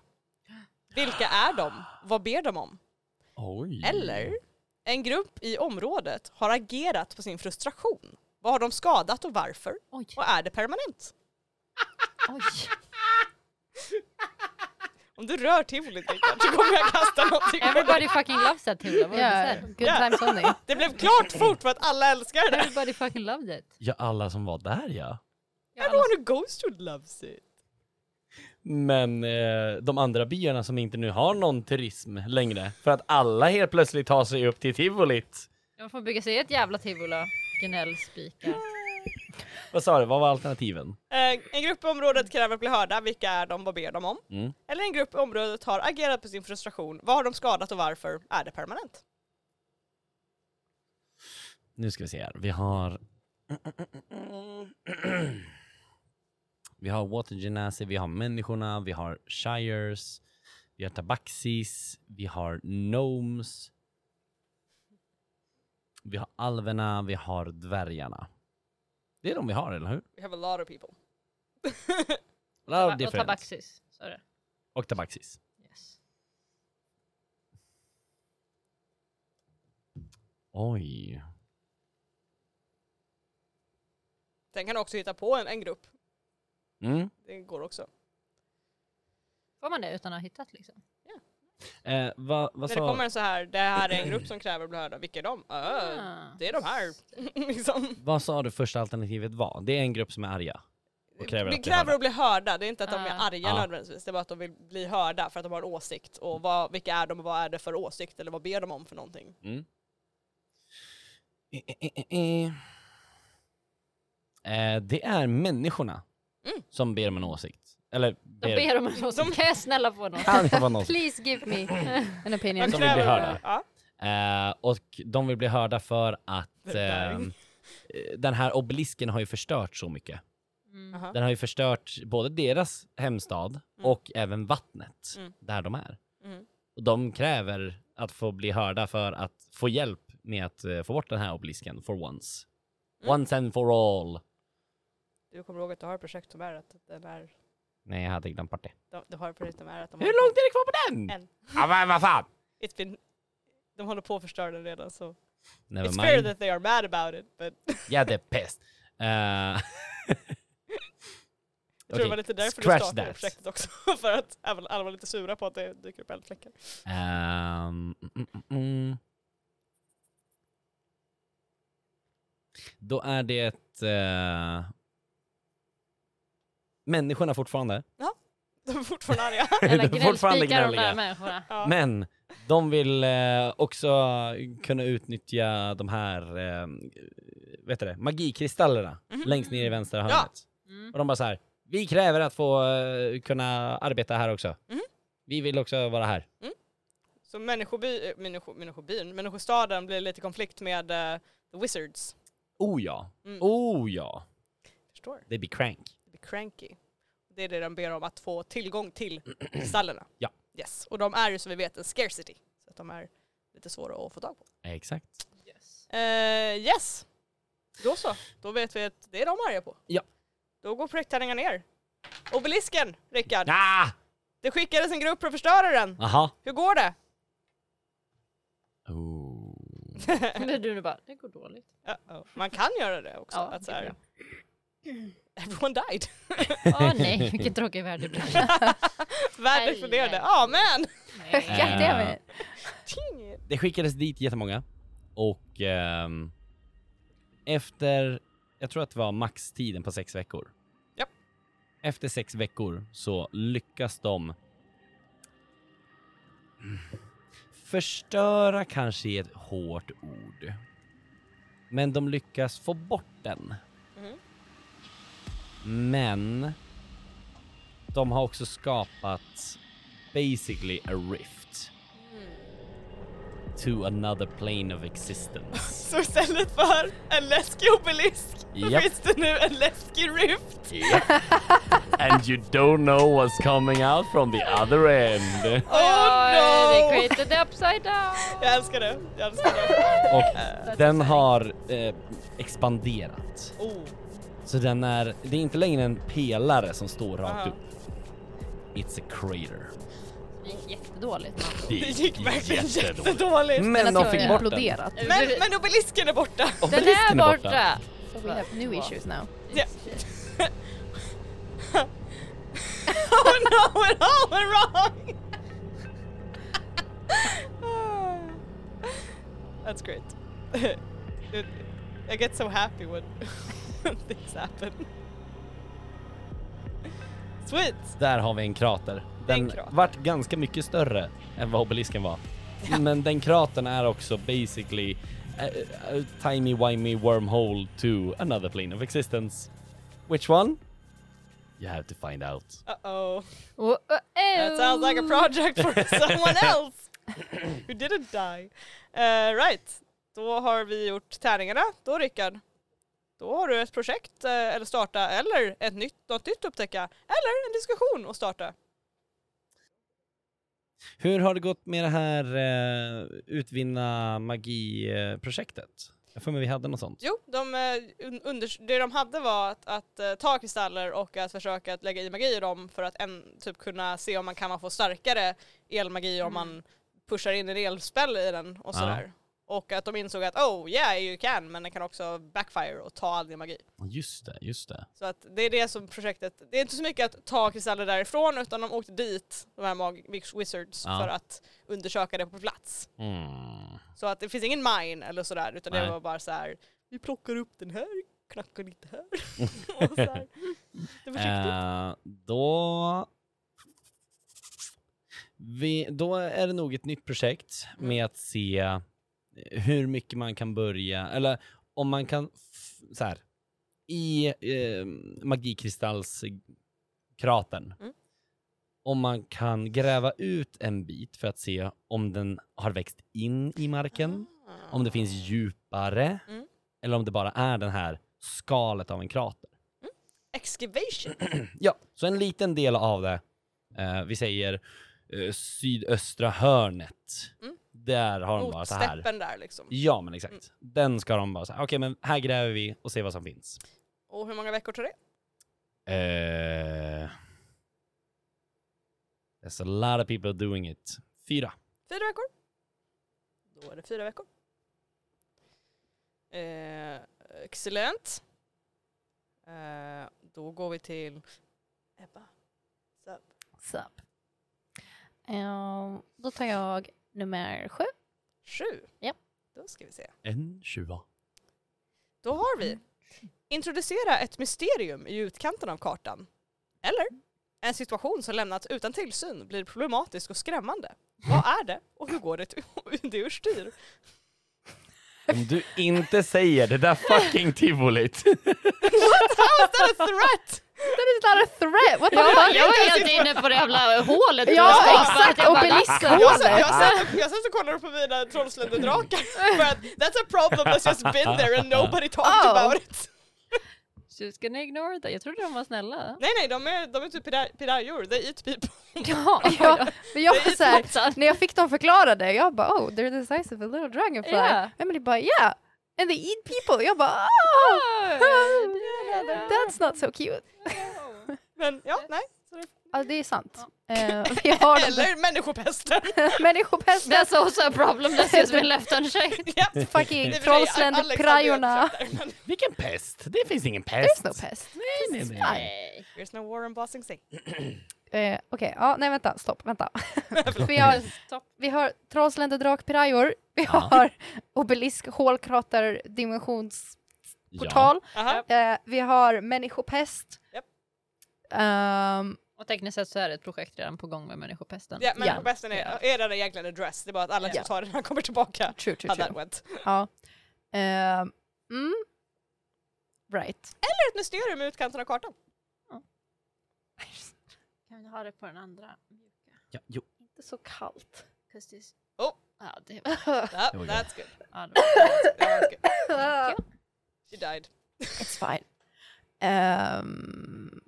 Speaker 1: Vilka är de? Vad ber de om?
Speaker 4: Oj.
Speaker 1: Eller? En grupp i området har agerat på sin frustration. Vad har de skadat och varför?
Speaker 3: Oj,
Speaker 1: Och är det permanent?
Speaker 3: oj.
Speaker 1: Om du rör tivolit Rickard, så kommer jag kasta någonting på dig.
Speaker 3: Everybody fucking loves that Tula, vad
Speaker 2: Yeah,
Speaker 3: yeah.
Speaker 2: good times only.
Speaker 1: Det blev klart fort för att alla älskar det.
Speaker 3: Everybody fucking loved it.
Speaker 4: Ja, alla som var där ja.
Speaker 3: Ja, alla-
Speaker 1: Everyone who goes to loves it.
Speaker 4: Men eh, de andra byarna som inte nu har någon turism längre, för att alla helt plötsligt tar sig upp till tivolit.
Speaker 3: De får bygga sig ett jävla tivoli. Gnällspikar.
Speaker 4: Vad sa du, vad var alternativen?
Speaker 1: Eh, En grupp i området kräver att bli hörda. Vilka är de? Vad ber de om?
Speaker 4: Mm.
Speaker 1: Eller en grupp i området har agerat på sin frustration. Vad har de skadat och varför? Är det permanent?
Speaker 4: Nu ska vi se här, vi har... vi har Water Genasi, vi har människorna, vi har Shires, vi har Tabaxis, vi har Gnomes. Vi har alverna, vi har dvärgarna. Det är de vi har, eller hur?
Speaker 1: We have a lot of people.
Speaker 4: A lot of
Speaker 3: och
Speaker 4: different.
Speaker 3: Tabaxis. sa du?
Speaker 4: Och Tabaxis.
Speaker 3: Yes.
Speaker 4: Oj.
Speaker 1: Sen kan du också hitta på en, en grupp.
Speaker 4: Mm.
Speaker 1: Det går också.
Speaker 3: Får man det utan att ha hittat liksom?
Speaker 4: Eh, vad vad
Speaker 1: När det
Speaker 4: sa
Speaker 1: kommer en så här, det här är en grupp som kräver att bli hörda. Vilka är de? Äh,
Speaker 3: Ah.
Speaker 1: Det är de här. liksom.
Speaker 4: Vad sa du första alternativet var? Det är en grupp som är arga. Och kräver
Speaker 1: det
Speaker 4: att bli
Speaker 1: kräver
Speaker 4: hörda.
Speaker 1: att bli hörda, det är inte att de är
Speaker 3: Ah.
Speaker 1: arga
Speaker 4: Ah.
Speaker 1: nödvändigtvis. Det är bara att de vill bli hörda för att de har en åsikt. Och vad, vilka är de och vad är det för åsikt eller vad ber de om för någonting?
Speaker 4: Mm. Eh, eh, eh, eh. Eh, det är människorna
Speaker 1: Mm.
Speaker 4: som ber om en åsikt. Eller
Speaker 3: De
Speaker 4: ber,
Speaker 3: ber om en åsikt. Kan jag snälla få något?
Speaker 4: kan få en åsikt.
Speaker 2: Please give me an opinion.
Speaker 1: De
Speaker 4: Som vill bli
Speaker 1: kräver-
Speaker 4: hörda.
Speaker 1: Ja.
Speaker 4: Eh, och de vill bli hörda för att...
Speaker 1: Det där.
Speaker 4: ehm, eh, den här obelisken har ju förstört så mycket.
Speaker 3: Mm.
Speaker 1: Aha.
Speaker 4: Den har ju förstört både deras hemstad och även vattnet
Speaker 1: Mm.
Speaker 4: där de är.
Speaker 1: Mm.
Speaker 4: Och de kräver att få bli hörda för att få hjälp med att eh, få bort den här obelisken for once.
Speaker 1: Mm.
Speaker 4: Once and for all.
Speaker 1: Du kommer ihåg att du har ett projekt som är att den är...
Speaker 4: Nej, jag hade glömt bort det.
Speaker 1: De, du har ett projekt som är att de
Speaker 4: Hur
Speaker 1: håller
Speaker 4: långt är det kvar på den?
Speaker 1: på- En.
Speaker 4: Ja, men vad fan!
Speaker 1: It's been... De håller på att förstöra den redan så...
Speaker 4: Never
Speaker 1: It's fair
Speaker 4: mind.
Speaker 1: that they are mad about it but...
Speaker 4: Yeah, the pest. Uh...
Speaker 1: Jag tror det var lite därför
Speaker 4: scratch
Speaker 1: du startade
Speaker 4: that.
Speaker 1: projektet också. För att alla alla var lite sura på att det dyker upp eldfläckar.
Speaker 4: Ehm, mm, mm, mm. Då är det eh, människorna fortfarande.
Speaker 1: De är fortfarande arga.
Speaker 4: De
Speaker 3: Jävla
Speaker 4: är fortfarande
Speaker 3: gnällspikar de
Speaker 4: gnälliga.
Speaker 3: där människorna.
Speaker 1: Ja.
Speaker 4: Men de vill eh, också kunna utnyttja de här eh, vet du det, magikristallerna
Speaker 1: Mhm.
Speaker 4: längst ner i vänstra hörnet.
Speaker 1: Ja.
Speaker 3: Mm.
Speaker 4: Och de bara så här, vi kräver att få eh, kunna arbeta här också.
Speaker 1: Mhm.
Speaker 4: Vi vill också vara här.
Speaker 1: Så människoby, eh, människo, människobyn, människostaden blir lite i konflikt med eh, The Wizards.
Speaker 4: Oh ja,
Speaker 1: Mm.
Speaker 4: oh ja.
Speaker 1: Förstår.
Speaker 4: Det blir crank.
Speaker 1: Det blir cranky. Det är det de ber om att få tillgång till kristallerna.
Speaker 4: Ja.
Speaker 1: Yes. Och de är ju som vi vet en scarcity. Så att de är lite svåra att få tag på.
Speaker 4: Exakt.
Speaker 1: Eh, yes! Då så. Då vet vi att det är de arga på.
Speaker 4: Ja.
Speaker 1: Då går projekttärningar ner. Obelisken, Rickard!
Speaker 4: Ah!
Speaker 1: Det skickades en grupp för att förstöra den.
Speaker 4: Aha.
Speaker 1: Hur går det?
Speaker 4: Oh.
Speaker 3: Men du nu bara, det går dåligt.
Speaker 1: Uh-oh. Man kan göra det också.
Speaker 3: Ja,
Speaker 1: att så
Speaker 3: det är
Speaker 1: här, everyone died.
Speaker 3: Åh nej, vilken tråkig värld det blir.
Speaker 1: Världen
Speaker 3: Aj,
Speaker 1: exploderade.
Speaker 3: aj.
Speaker 1: Ja men!
Speaker 3: Nej.
Speaker 2: Ökat det
Speaker 4: Eh,
Speaker 2: med.
Speaker 4: Det skickades dit jättemånga. Och ehm, efter, jag tror att det var maxtiden på sex veckor.
Speaker 1: Japp.
Speaker 4: Efter sex veckor så lyckas de Mm. förstöra kanske är ett hårt ord. Men de lyckas få bort den.
Speaker 1: Mhm.
Speaker 4: Men de har också skapat basically a rift. to another plane of existence.
Speaker 1: Så istället för en läskig obelisk
Speaker 4: Japp.
Speaker 1: finns det nu en läskig rift.
Speaker 4: and you don't know what's coming out from the other end.
Speaker 1: Oh no!
Speaker 3: They created the upside down!
Speaker 1: Jag älskar det. Jag älskar det.
Speaker 4: Och den har eh, expanderat.
Speaker 1: Oh.
Speaker 4: Så den är, det är inte längre en pelare som står rakt
Speaker 1: Aha.
Speaker 4: upp. It's a crater.
Speaker 3: Det gick jättedåligt.
Speaker 1: Det gick verkligen jättedåligt.
Speaker 4: Men,
Speaker 2: Men
Speaker 4: de
Speaker 2: att
Speaker 4: fick
Speaker 2: jag
Speaker 4: bort
Speaker 2: imploderat.
Speaker 3: Men,
Speaker 1: Men, men obelisken är borta.
Speaker 4: den.
Speaker 3: den är
Speaker 4: Obelisken
Speaker 3: borta!
Speaker 2: So we have new issues now.
Speaker 1: Ja. oh no, it all went wrong! Ah. That's great. It- I get so happy when things happen. Sweet!
Speaker 4: Där har vi en krater.
Speaker 1: Det är en
Speaker 4: Den
Speaker 1: krater.
Speaker 4: vart ganska mycket större än vad obelisken var. Men den kratern är också basically a, a a tiny wimey wormhole to another plane of existence. Which one? You have to find out.
Speaker 1: Uh-oh.
Speaker 3: Oh, oh,
Speaker 2: eh,
Speaker 1: That sounds like a project for someone else who didn't die. Eh, right, då har vi gjort tärningarna då Rickard. Då har du ett projekt eh, eller starta eller ett nytt, något nytt att upptäcka eller en diskussion att starta.
Speaker 4: Hur har det gått med det här eh, utvinna magi-projektet? Jag får med vi hade något sånt.
Speaker 1: Jo, de, eh, un- unders- det de hade var att, att eh, ta kristaller och att försöka att lägga i magi i dem för att en, typ kunna se om man kan få starkare elmagi om man pushar in en elspel i den och
Speaker 4: Mm. Ja.
Speaker 1: sådär. Och att de insåg att oh yeah you can men den kan också backfire och ta all din magi.
Speaker 4: Just det, just det.
Speaker 1: Så att det är det som projektet, det är inte så mycket att ta kristaller därifrån utan de åkte dit, de här mag- wizards,
Speaker 4: Ja.
Speaker 1: för att undersöka det på plats.
Speaker 4: Mm.
Speaker 1: Så att det finns ingen mine eller sådär utan
Speaker 4: Nej.
Speaker 1: det var bara så här. vi plockar upp den här, knackar lite här. och så här. Det var försiktigt.
Speaker 4: Eh, då... Vi, då är det nog ett nytt projekt
Speaker 1: Mm.
Speaker 4: med att se hur mycket man kan börja, eller om man kan, f- så här, i eh, magikristallskratern,
Speaker 1: Mm.
Speaker 4: om man kan gräva ut en bit för att
Speaker 1: Ah.
Speaker 4: se om den har växt in i marken, om det finns djupare,
Speaker 1: Mm.
Speaker 4: Eller om det bara är den här skalet av en krater.
Speaker 1: Excavation.
Speaker 4: Ja, så en liten del av det, eh, vi säger eh, sydöstra hörnet.
Speaker 1: Mm.
Speaker 4: Där har de bara
Speaker 1: Mot
Speaker 4: så här.
Speaker 1: steppen där liksom.
Speaker 4: Ja men exakt. Den ska de bara säga. okej men här gräver vi och ser vad som finns.
Speaker 1: Och hur många veckor tar det?
Speaker 4: Eh, there's a lot of people doing it. Fyra.
Speaker 1: Fyra veckor. Då är det fyra veckor. Eh, excellent. Eh, då går vi till Ebba. Så.
Speaker 2: Sup. Ehm, då tar jag nummer sju.
Speaker 1: Sju.
Speaker 2: Ja.
Speaker 1: Då ska vi se.
Speaker 4: En tjuva.
Speaker 1: Då har vi introducera ett mysterium i utkanten av kartan. Eller en situation som lämnats utan tillsyn blir problematisk och skrämmande. Vad är det och hur går det, det ur styr?
Speaker 4: Om du inte säger det där fucking tivolit.
Speaker 1: Is that a threat?
Speaker 2: That is not a threat! What the
Speaker 3: Ja, jag
Speaker 2: fuck?
Speaker 3: var helt inne på det jävla hålet du
Speaker 2: Ja,
Speaker 3: har skapat.
Speaker 2: exakt!
Speaker 3: Jag bara, "Ah,
Speaker 1: Jag satt,
Speaker 2: Obeliskålet!
Speaker 1: jag satt, och, jag satt och kollade på mina trollsländerakar för att that's a problem that's just been there and nobody talked
Speaker 2: Oh.
Speaker 1: about it.
Speaker 3: Så du ska ignore det? Jag trodde de var snälla.
Speaker 1: Nej nej, de är, de är typ piraj- pirajor, they eat people.
Speaker 3: Ja,
Speaker 2: Ja, men jag var såhär,
Speaker 3: hoppsan.
Speaker 2: när jag fick dem förklarade, jag bara oh, they're the size of a little dragonfly.
Speaker 3: Ja.
Speaker 2: Emily bara yeah, and they eat people. Jag bara oh, that's not so cute.
Speaker 1: Men ja, nej. så det-
Speaker 2: Ja, det är sant. Eh, vi har
Speaker 1: Eller människopesten.
Speaker 2: människopesten,
Speaker 3: That's also a problem, that's just been left unchecked.
Speaker 1: Japp. I och
Speaker 2: fucking
Speaker 1: för sig, Alex hade ju
Speaker 2: trollsländerprajorna.
Speaker 1: uppsatt där, men-
Speaker 4: Vilken pest? Det finns ingen
Speaker 2: There's
Speaker 4: pest.
Speaker 2: no pest.
Speaker 4: Nej, nej, nej.
Speaker 3: Nej.
Speaker 1: There's no war on Bossing Sing.
Speaker 2: Eh, Okej, ja, nej vänta, stopp, vänta. vi, har, vi har trollsländerdragpirajor, vi
Speaker 4: Ja.
Speaker 2: har obelisk, hålkrater,
Speaker 4: Ja.
Speaker 2: dimensionsportal,
Speaker 1: Aha.
Speaker 2: eh, vi har människopest.
Speaker 1: Japp.
Speaker 2: Ehm,
Speaker 3: Och tekniskt sett så är det ett projekt redan på gång med människopesten.
Speaker 1: Ja, men
Speaker 2: Ja.
Speaker 1: pesten är, är redan egentligen en dress, det är bara att alla som
Speaker 2: Ja.
Speaker 1: tar den här kommer tillbaka.
Speaker 2: true, true,
Speaker 1: How that
Speaker 2: true.
Speaker 1: went.
Speaker 2: Ja. Ehm, mm. Right.
Speaker 1: Eller ett mysterium i utkanten av kartan.
Speaker 3: Kan vi ha det på den andra?
Speaker 4: Ja, jo.
Speaker 2: Inte så kallt.
Speaker 3: Kustis.
Speaker 1: Oh.
Speaker 3: Ja, det
Speaker 1: Ja,
Speaker 4: Det var
Speaker 1: that's good.
Speaker 3: ja, det
Speaker 1: That's good. She died.
Speaker 2: It's fine. Ehm.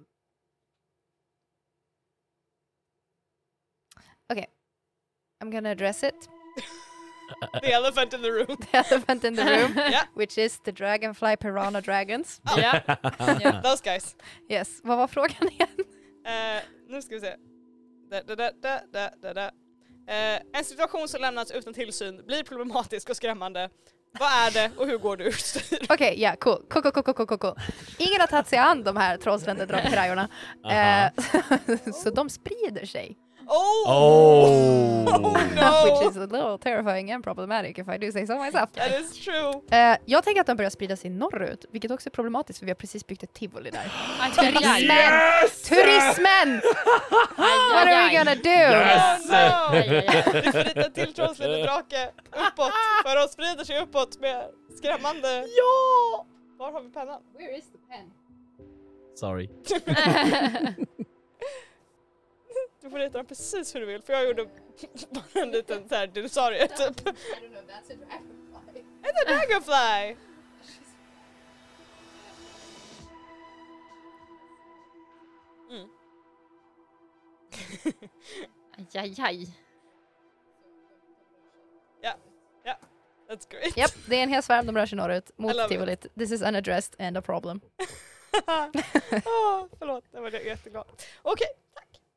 Speaker 2: okay. I'm gonna address it.
Speaker 1: The elephant in the room.
Speaker 2: The elephant in the room,
Speaker 1: Ja.
Speaker 2: which is the dragonfly piranha dragons.
Speaker 3: var- ja. Ja.
Speaker 1: Ah, Those guys.
Speaker 2: Yes, vad var frågan igen?
Speaker 1: Eh, nu ska vi se. Da, da, da, da, da, da, da. Eh, en situation som lämnats utan tillsyn blir problematisk och skrämmande. Vad är det och hur går det ur styr?
Speaker 2: Okej, ja, cool. Cool, cool, cool, cool, cool, cool. Ingen har tagit sig an de här trollsländerdragpirajorna. Eh, så de sprider sig.
Speaker 1: Oh!
Speaker 4: Oh.
Speaker 2: Which
Speaker 1: No!
Speaker 2: is a little terrifying and problematic if I do say so myself.
Speaker 1: That is true.
Speaker 2: Eh, jag tänker att de börjar sprida sig norrut, vilket också är problematiskt för vi har precis byggt ett tivoli där.
Speaker 3: Aj, aj,
Speaker 2: Men turismen! What are we
Speaker 3: aj,
Speaker 2: gonna do?
Speaker 1: Oh, no.
Speaker 3: aj, aj, aj.
Speaker 1: Vi får rita till Trollslöjden drake uppåt för de sprider sig uppåt med skrämmande... Ja! Var har vi pennan?
Speaker 2: Where is the pen?
Speaker 4: Sorry.
Speaker 1: Du får rita den precis hur du vill för jag gjorde bara en liten så här dinosaurie typ. It's a dragonfly! Mm.
Speaker 3: Aj, aj, aj.
Speaker 1: That's great.
Speaker 2: Japp, det är en hel svärm, de rör sig norrut
Speaker 1: I love
Speaker 2: mot
Speaker 1: it.
Speaker 2: tivolit. This is unaddressed and a problem.
Speaker 1: Åh, förlåt, jag var jätteglad. Okej,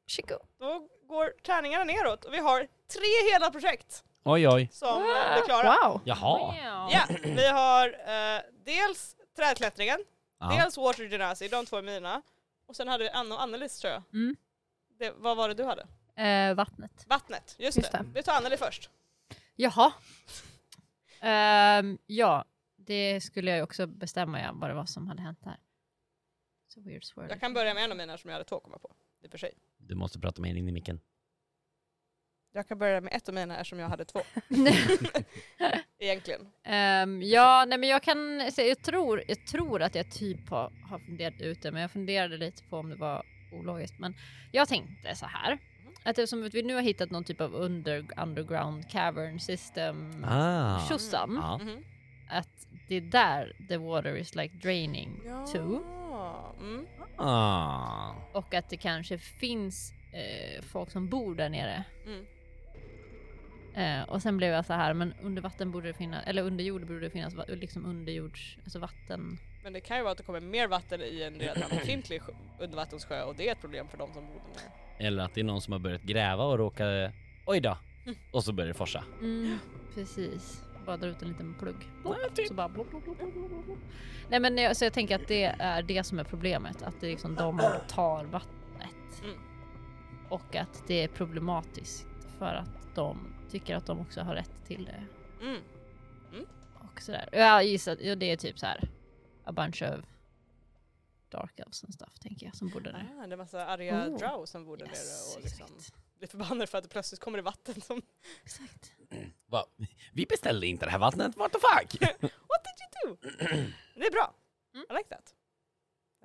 Speaker 2: Chico.
Speaker 1: då går tärningarna neråt och vi har tre hela projekt
Speaker 4: Oj oj.
Speaker 1: som eh, blir klara.
Speaker 2: Wow!
Speaker 4: Jaha.
Speaker 1: Ja, vi har eh, dels trädklättringen,
Speaker 4: Ja.
Speaker 1: dels Water Genasi, de två är mina. Och sen hade Anna och Annelies tror jag.
Speaker 3: Mm.
Speaker 1: Det, vad var det du hade?
Speaker 3: Eh, vattnet.
Speaker 1: Vattnet, just,
Speaker 2: Just
Speaker 1: det.
Speaker 2: det.
Speaker 1: Vi tar Annelie först.
Speaker 3: Jaha. Ehm, ja, det skulle jag ju också bestämma jag vad det var som hade hänt där. Så weird swirl.
Speaker 1: Jag kan börja med en av mina som jag hade två komma på. I och för sig.
Speaker 4: Du måste prata mer in i micken.
Speaker 1: Jag kan börja med ett av mina eftersom jag hade två. Egentligen.
Speaker 3: Ehm, ja, nej men jag kan säga, jag tror, jag tror att jag typ har, har funderat ut det, men jag funderade lite på om det var ologiskt. Men jag tänkte så här,
Speaker 4: Mhm.
Speaker 3: att eftersom vi nu har hittat någon typ av
Speaker 1: Mm.
Speaker 3: under, underground cavern system
Speaker 4: Ah.
Speaker 3: tjosan,
Speaker 4: Ja.
Speaker 1: Mhm.
Speaker 3: att det är där the water is like draining to.
Speaker 1: Mm.
Speaker 4: Ah.
Speaker 3: Och att det kanske finns eh, folk som bor där nere.
Speaker 1: Mm.
Speaker 3: Eh, och sen blev jag så här, men under vatten borde det finnas, eller under jord borde det finnas va- liksom underjords, alltså vatten.
Speaker 1: Men det kan ju vara att det kommer mer vatten i en redan befintlig sjö- undervattenssjö och det är ett problem för de som bor där.
Speaker 4: Eller att det är någon som har börjat gräva och råkade... Oj då! Och så börjar det forsa.
Speaker 3: Mm, Precis. Bara drar ut en liten plugg. Så bara blop, blop, blop, blop, blop, blop. Nej men jag, så jag tänker att det är det som är problemet, att det är liksom de tar vattnet.
Speaker 1: Mm.
Speaker 3: Och att det är problematiskt för att de tycker att de också har rätt till det.
Speaker 1: Mm.
Speaker 3: Och sådär. Jag gissar att ja, det är typ så här a bunch of dark elves and stuff tänker jag som borde där.
Speaker 1: Ah, det är massa arga
Speaker 3: Oh.
Speaker 1: drow som bor där
Speaker 3: Yes,
Speaker 1: nere och liksom
Speaker 3: exakt.
Speaker 1: blir förbannade för att det plötsligt kommer det vatten som
Speaker 3: exakt.
Speaker 4: Va? Vi beställde inte det här vattnet, what the fuck?
Speaker 1: What did you do? det är bra.
Speaker 3: Mm.
Speaker 1: I like that.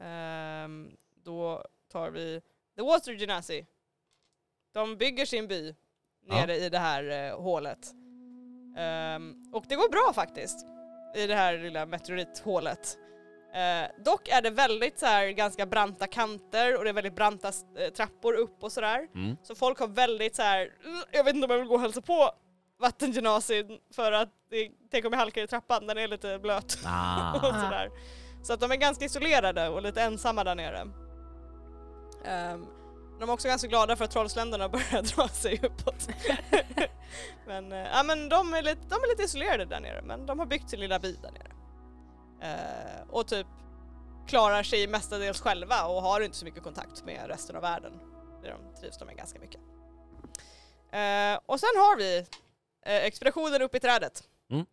Speaker 1: Ehm, då tar vi The Water Genasi. De bygger sin by
Speaker 4: Ja.
Speaker 1: nere i det här eh, hålet. Ehm, och det går bra faktiskt i det här lilla meteorithålet. Eh, dock är det väldigt så här ganska branta kanter och det är väldigt branta eh, trappor upp och sådär.
Speaker 4: Mm.
Speaker 1: Så folk har väldigt så här, "Ugh, jag vet inte om jag vill gå och hälsa på vattengymnasiet för att det, tänk om jag halkar i trappan, den är lite blöt. och
Speaker 4: Ah.
Speaker 1: sådär. Så att de är ganska isolerade och lite ensamma där nere. Ehm, de är också ganska glada för att trollsländerna börjar dra sig uppåt. men eh, ja, men de, är lite, de är lite isolerade där nere men de har byggt sin lilla by där nere. Eh, och typ klarar sig mestadels själva och har inte så mycket kontakt med resten av världen. Det de trivs de med ganska mycket. Eh, och sen har vi eh, expeditionen upp i trädet.
Speaker 4: Mm.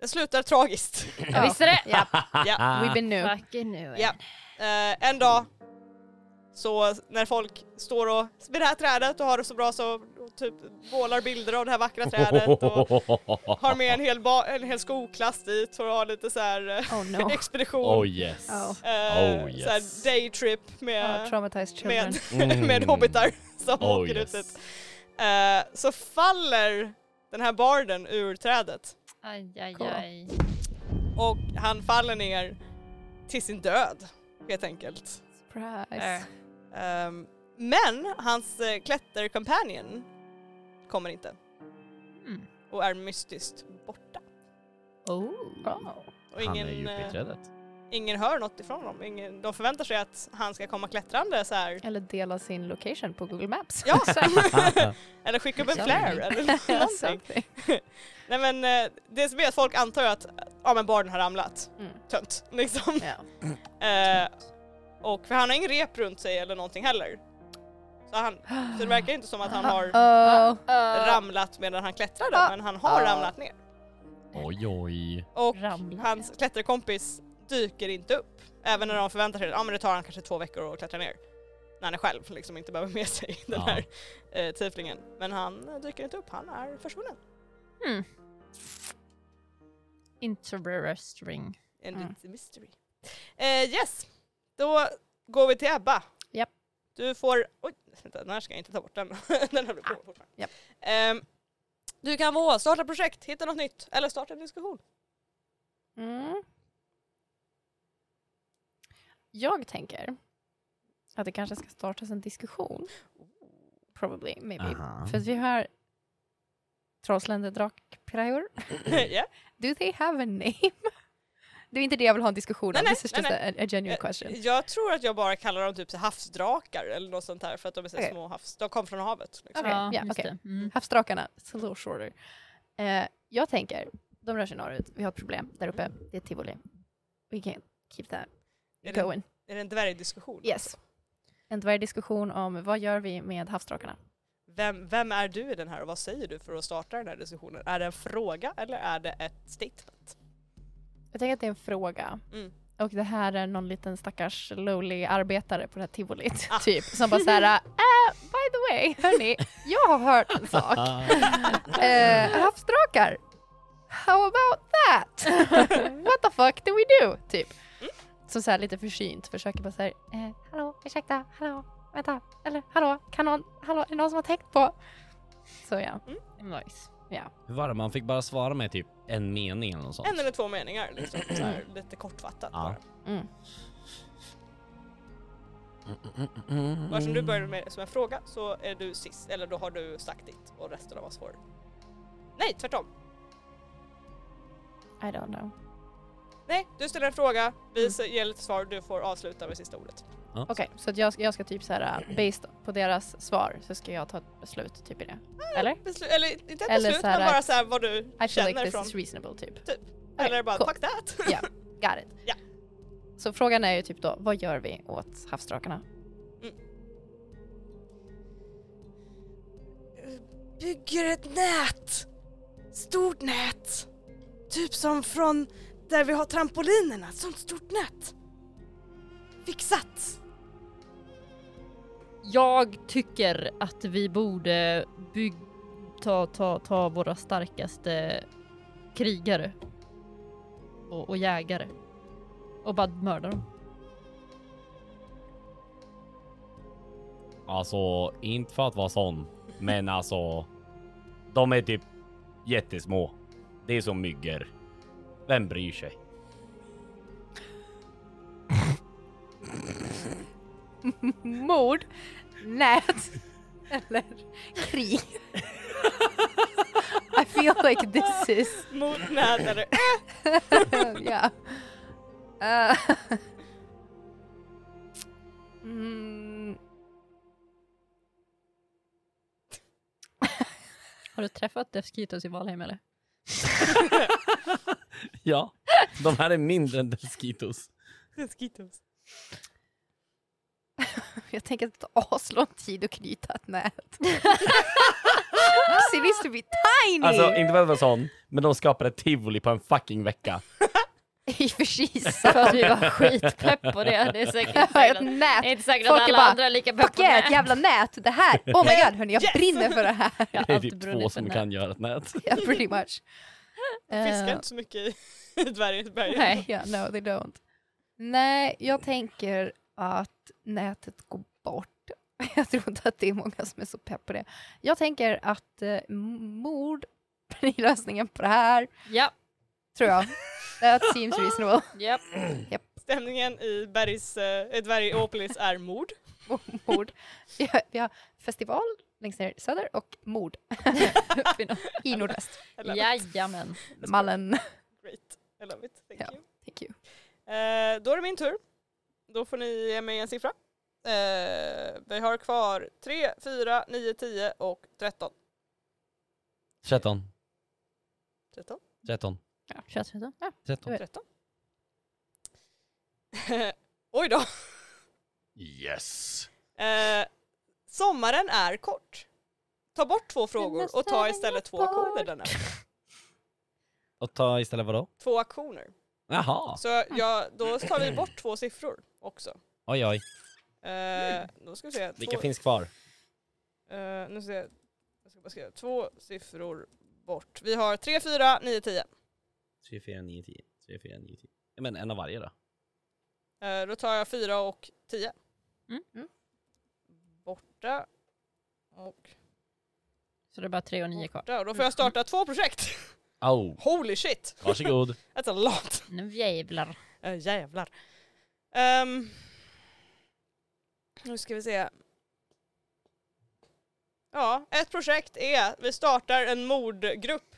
Speaker 1: Det slutar tragiskt.
Speaker 3: Jag visste det!
Speaker 2: Ja,
Speaker 1: Ja.
Speaker 2: we been new.
Speaker 3: Fucking nu.
Speaker 1: Ja. Eh, en dag så när folk står och vid det här trädet och har det så bra så typ målar bilder av det här vackra trädet och har med en hel, ba- en hel skolklass dit för att ha lite så här eh,
Speaker 2: Oh no.
Speaker 1: expedition.
Speaker 4: Oh yes.
Speaker 2: Oh.
Speaker 1: eh,
Speaker 4: oh, yes.
Speaker 1: Så här daytrip
Speaker 2: Ja,
Speaker 1: med,
Speaker 2: Ah, traumatized children.
Speaker 3: Äh.
Speaker 1: med,
Speaker 4: Mm.
Speaker 1: med hobbitar som
Speaker 4: Oh
Speaker 1: åker
Speaker 4: yes.
Speaker 1: ut dit. Eh, så faller den här barden ur trädet
Speaker 3: Aj, aj,
Speaker 2: Kolla.
Speaker 3: aj.
Speaker 1: och han faller ner till sin död helt enkelt.
Speaker 3: Äh.
Speaker 2: Surprise.
Speaker 1: Ehm, men hans eh, klättercompanion kommer inte
Speaker 3: Mm.
Speaker 1: och är mystiskt borta.
Speaker 3: Oh.
Speaker 2: Oh.
Speaker 1: Och
Speaker 4: Han är
Speaker 1: ingen,
Speaker 4: ju uppe i
Speaker 1: eh,
Speaker 4: trädet.
Speaker 1: ingen hör något ifrån dem. Ingen, de förväntar sig att han ska komma klättrande så här.
Speaker 2: Eller dela sin location på Google Maps.
Speaker 1: Ja.
Speaker 4: Ah.
Speaker 1: eller skicka upp en
Speaker 3: Something.
Speaker 1: flare eller någonting.
Speaker 2: Something.
Speaker 1: Nej men eh, det som är att folk antar ju att ja men barnen har ramlat.
Speaker 2: Mm.
Speaker 1: Tönt liksom.
Speaker 2: Ja.
Speaker 1: Eh, och för han har ingen rep runt sig eller någonting heller. Så, han, så det verkar inte som att han har
Speaker 2: Oh.
Speaker 1: ramlat medan han klättrade men han har ramlat ner.
Speaker 4: Oj oj.
Speaker 1: Och
Speaker 3: Ramlat.
Speaker 1: hans klätterkompis dyker inte upp. Även när de förväntar sig att ah, men det tar han kanske två veckor att klättra ner. När han är själv liksom inte behöver med sig den
Speaker 4: Ja.
Speaker 1: här eh, tieflingen. Men han eh, dyker inte upp, han är försvunnen.
Speaker 3: Mm. Interesting.
Speaker 1: And
Speaker 2: Mm.
Speaker 1: it's a mystery. Eh, yes, då går vi till Ebba.
Speaker 2: Japp.
Speaker 1: Du får... Oj, vänta, den här ska jag inte ta bort. Den, den har du på fortfarande.
Speaker 2: Ah, japp.
Speaker 1: Ehm, du kan få starta projekt, hitta något nytt eller starta en diskussion.
Speaker 2: Mm. Jag tänker att det kanske ska startas en diskussion. Probably, maybe.
Speaker 4: Aha.
Speaker 2: För att vi har Trollsländer drakpirajor.
Speaker 1: Ja.
Speaker 2: Do they have a name? Det är inte det jag vill ha en diskussion
Speaker 1: Nej,
Speaker 2: om.
Speaker 1: nej,
Speaker 2: This is
Speaker 1: nej, Eh,
Speaker 2: just a, a genuine question.
Speaker 3: Typ.
Speaker 1: Jag tror att jag bara kallar dem typ så här havsdrakar eller något sånt här för att de är så här
Speaker 2: Okej.
Speaker 1: små havs... De kom från havet. Liksom.
Speaker 2: Okej, ja,
Speaker 3: just
Speaker 2: okej.
Speaker 3: det.
Speaker 1: eh,
Speaker 3: Mm.
Speaker 2: Havsdrakarna, it's a little shorter. Eh, jag tänker, de rör sig norrut. Vi har ett problem där uppe. Det är ett tivoli. We can keep that
Speaker 1: Är, det,
Speaker 2: going.
Speaker 1: är det en dvärgdiskussion?
Speaker 2: Yes. En dvärgdiskussion om vad gör vi med havsdrakarna?
Speaker 1: Vem, vem är du i den här och vad säger du för att starta den här diskussionen? Är det en fråga eller är det ett statement?
Speaker 2: Jag tänker att det är en fråga.
Speaker 1: Mm.
Speaker 2: Och det här är någon liten stackars lowly arbetare på det här tivolit,
Speaker 3: Ah.
Speaker 2: typ, som bara såhär, äh, by the way, hörni, jag har hört en sak. Eh, havsdrakar, how about that? What the fuck do we do? Typ.
Speaker 3: Mm.
Speaker 2: Så såhär lite försynt försöker bara såhär, eh, hallå, ursäkta, hallå, vänta, eller hallå, kan någon, hallå, är det någon som har tänkt på? Så ja.
Speaker 3: Nice. Ja.
Speaker 4: Hur var det? Man fick bara svara med typ en mening eller något sånt.
Speaker 1: En eller två meningar liksom, så här, lite kortfattat
Speaker 4: Ja.
Speaker 1: bara.
Speaker 3: Mm.
Speaker 1: Och Eftersom du började med som en fråga så är du sist, eller då har du sagt ditt och resten av oss får... Nej, tvärtom!
Speaker 3: I don't know.
Speaker 1: Nej, du ställer en fråga, vi
Speaker 3: Mm.
Speaker 1: se- ger lite svar, du får avsluta med sista ordet.
Speaker 3: Okej, så att jag, jag ska typ så här, based på deras svar så ska jag ta ett beslut typ i det. Eller?
Speaker 1: Beslu- eller inte ett
Speaker 3: Eller
Speaker 1: beslut,
Speaker 3: så här
Speaker 1: men
Speaker 3: att-
Speaker 1: bara så här vad du
Speaker 3: I feel
Speaker 1: Ah, känner
Speaker 3: like this
Speaker 1: från...
Speaker 3: is reasonable typ. okay,
Speaker 1: eller bara
Speaker 3: cool.
Speaker 1: fuck that!
Speaker 3: Ja, got it.
Speaker 1: Ja.
Speaker 3: Så frågan är ju typ då, vad gör vi åt havsdrakarna?
Speaker 1: Bygger ett nät! Stort nät! Typ som från där vi har trampolinerna, sånt stort nät! Fixat!
Speaker 3: Jag tycker att vi borde byg- ta, ta, ta våra starkaste krigare och, och jägare och bara mörda dem.
Speaker 4: Alltså, inte för att vara sån, men alltså. De är typ jättesmå. Det är som myggor. Vem bryr sig?
Speaker 2: Mord, nät eller krig. I feel like this is... um,
Speaker 1: Mot nät eller
Speaker 2: yeah. Eh. mm,
Speaker 3: Har du träffat Defskitos i Valheim eller?
Speaker 4: Ja, de här är mindre än Delskitos.
Speaker 1: Skitos.
Speaker 2: jag tänker att det tar aslång tid att knyta ett nät. She needs to be tiny!
Speaker 4: Alltså, inte för att vara sån, men de skapar ett tivoli på en fucking vecka.
Speaker 2: I och för sig. så-
Speaker 3: För du var skitpepp på det. Det är säkert
Speaker 2: Ett
Speaker 3: Det är
Speaker 2: nät!
Speaker 3: inte säkert
Speaker 2: Folk
Speaker 3: att
Speaker 2: är
Speaker 3: alla
Speaker 2: bara,
Speaker 3: andra är lika pepp
Speaker 2: Fuck
Speaker 3: på
Speaker 2: yeah, ett
Speaker 3: det.
Speaker 2: jävla nät! Det här! Oh my god hörni, jag
Speaker 1: Yes!
Speaker 2: brinner för det här!
Speaker 3: Jag
Speaker 4: Det
Speaker 3: har
Speaker 4: är
Speaker 3: alltid
Speaker 4: typ
Speaker 3: brunnit
Speaker 4: två
Speaker 3: för
Speaker 4: som
Speaker 3: nät.
Speaker 4: kan göra ett nät.
Speaker 2: Yeah, pretty much.
Speaker 1: Fiskar
Speaker 2: Eh,
Speaker 1: inte så mycket i dvärgbergen.
Speaker 3: Nej.
Speaker 2: Ja, no they don't. Nej, jag tänker att nätet går bort. Jag tror inte att det är många som är så pepp på det. Jag tänker att eh, mord blir lösningen på det här,
Speaker 3: Ja,
Speaker 2: tror jag. That seems reasonable.
Speaker 3: ja.
Speaker 1: Stämningen i bergs, äh, dvärgåpolis är mord.
Speaker 2: Mord. Vi har, vi har festival längst ner i söder och mord i nordväst.
Speaker 1: Eller
Speaker 3: Jajamän.
Speaker 2: Mallen.
Speaker 1: great. I love it, thank
Speaker 2: Ja.
Speaker 1: you.
Speaker 2: Thank you.
Speaker 1: Eh, då är det min tur. Då får ni ge mig en siffra. Eh, vi har kvar 3, 4, 9, 10 och 13.
Speaker 4: 13,
Speaker 1: 13?
Speaker 4: 13,
Speaker 3: Ja, kött, kött.
Speaker 4: 13.
Speaker 2: Eh.
Speaker 1: 13. Oj då.
Speaker 4: Yes!
Speaker 1: Eh, sommaren är kort. Ta bort två frågor och ta istället två auktioner denna vecka.
Speaker 4: Och ta istället vadå?
Speaker 1: Två auktioner.
Speaker 4: Jaha,
Speaker 1: Så jag, då tar vi bort två siffror också.
Speaker 4: oj oj.
Speaker 1: Eh, då ska vi se.
Speaker 4: Vilka
Speaker 1: Två,
Speaker 4: finns kvar?
Speaker 1: eh, nu ska jag, jag ska bara skriva. Två siffror bort. Vi har 3, 4, 9, 10.
Speaker 4: 3, 4, 9, 10. 3, 4, 9, 10. Ja, men en av varje då.
Speaker 1: Eh, då tar jag 4 och 10.
Speaker 3: Mm.
Speaker 1: Borta. Och
Speaker 3: Så det är bara tre och nio kvar. Mm.
Speaker 1: där. Och då får jag starta två projekt.
Speaker 4: Oh,
Speaker 1: Holy shit!
Speaker 4: varsågod.
Speaker 1: That's a lot.
Speaker 3: Nu jävlar.
Speaker 1: Eh, jävlar. Ehm, nu ska vi se. Ja, ett projekt är vi startar en mordgrupp.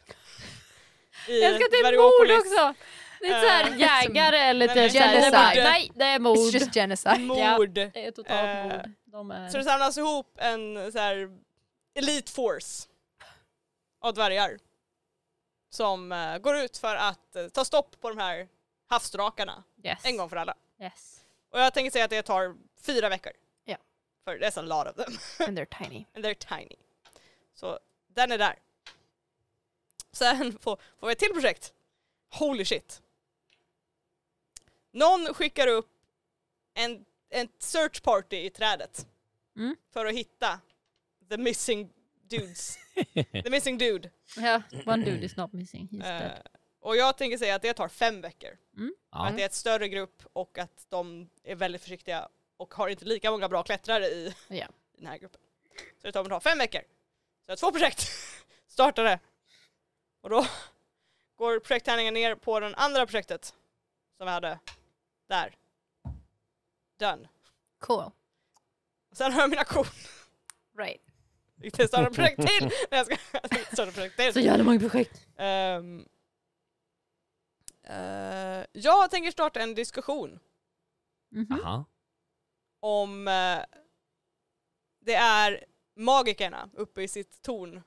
Speaker 1: I
Speaker 3: Jag ska till mord
Speaker 1: Variopolis.
Speaker 3: också! Det är så
Speaker 1: Eh,
Speaker 3: här jägare eller
Speaker 1: nej,
Speaker 3: typ
Speaker 1: men-
Speaker 3: såhär, det är
Speaker 1: Genocide.
Speaker 3: bara, nej det är
Speaker 2: It's
Speaker 3: mord.
Speaker 2: just genocide.
Speaker 1: Mord.
Speaker 3: Det är totalt
Speaker 1: Eh,
Speaker 3: mord. De är...
Speaker 1: Så det samlas ihop en så här elite force av dvärgar. Som eh, går ut för att eh, ta stopp på de här havsdrakarna
Speaker 3: yes.
Speaker 1: en gång för alla.
Speaker 3: Yes.
Speaker 1: Och jag tänker säga att det tar fyra veckor.
Speaker 2: Ja.
Speaker 1: För there's a lot of them.
Speaker 2: And they're tiny.
Speaker 1: And they're tiny. Så den är där. Sen får, får vi ett till projekt. Holy shit. Någon skickar upp en, en search party i trädet.
Speaker 3: Mm.
Speaker 1: För att hitta the missing dudes. the missing dude.
Speaker 3: Ja, one dude is not missing. He's
Speaker 1: Eh,
Speaker 3: dead.
Speaker 1: och jag tänker säga att det tar fem veckor. För
Speaker 4: Ja.
Speaker 1: Att det är ett större grupp och att de är väldigt försiktiga och har inte lika många bra klättrare i,
Speaker 3: Ja.
Speaker 1: i den här gruppen. Så det tar, det tar fem veckor. Så jag har två projekt startade. Och då går projekttärningen ner på den andra projektet som vi hade där. Done.
Speaker 2: Cool.
Speaker 1: Sen har jag mina kort.
Speaker 2: Right.
Speaker 1: Gick till ett större projekt till! Nej jag ska ett större projekt till.
Speaker 3: Så jävla många projekt.
Speaker 1: Ehm, eh, jag tänker starta en diskussion
Speaker 3: Mhm.
Speaker 4: Aha.
Speaker 1: om eh, det är magikerna uppe i sitt torn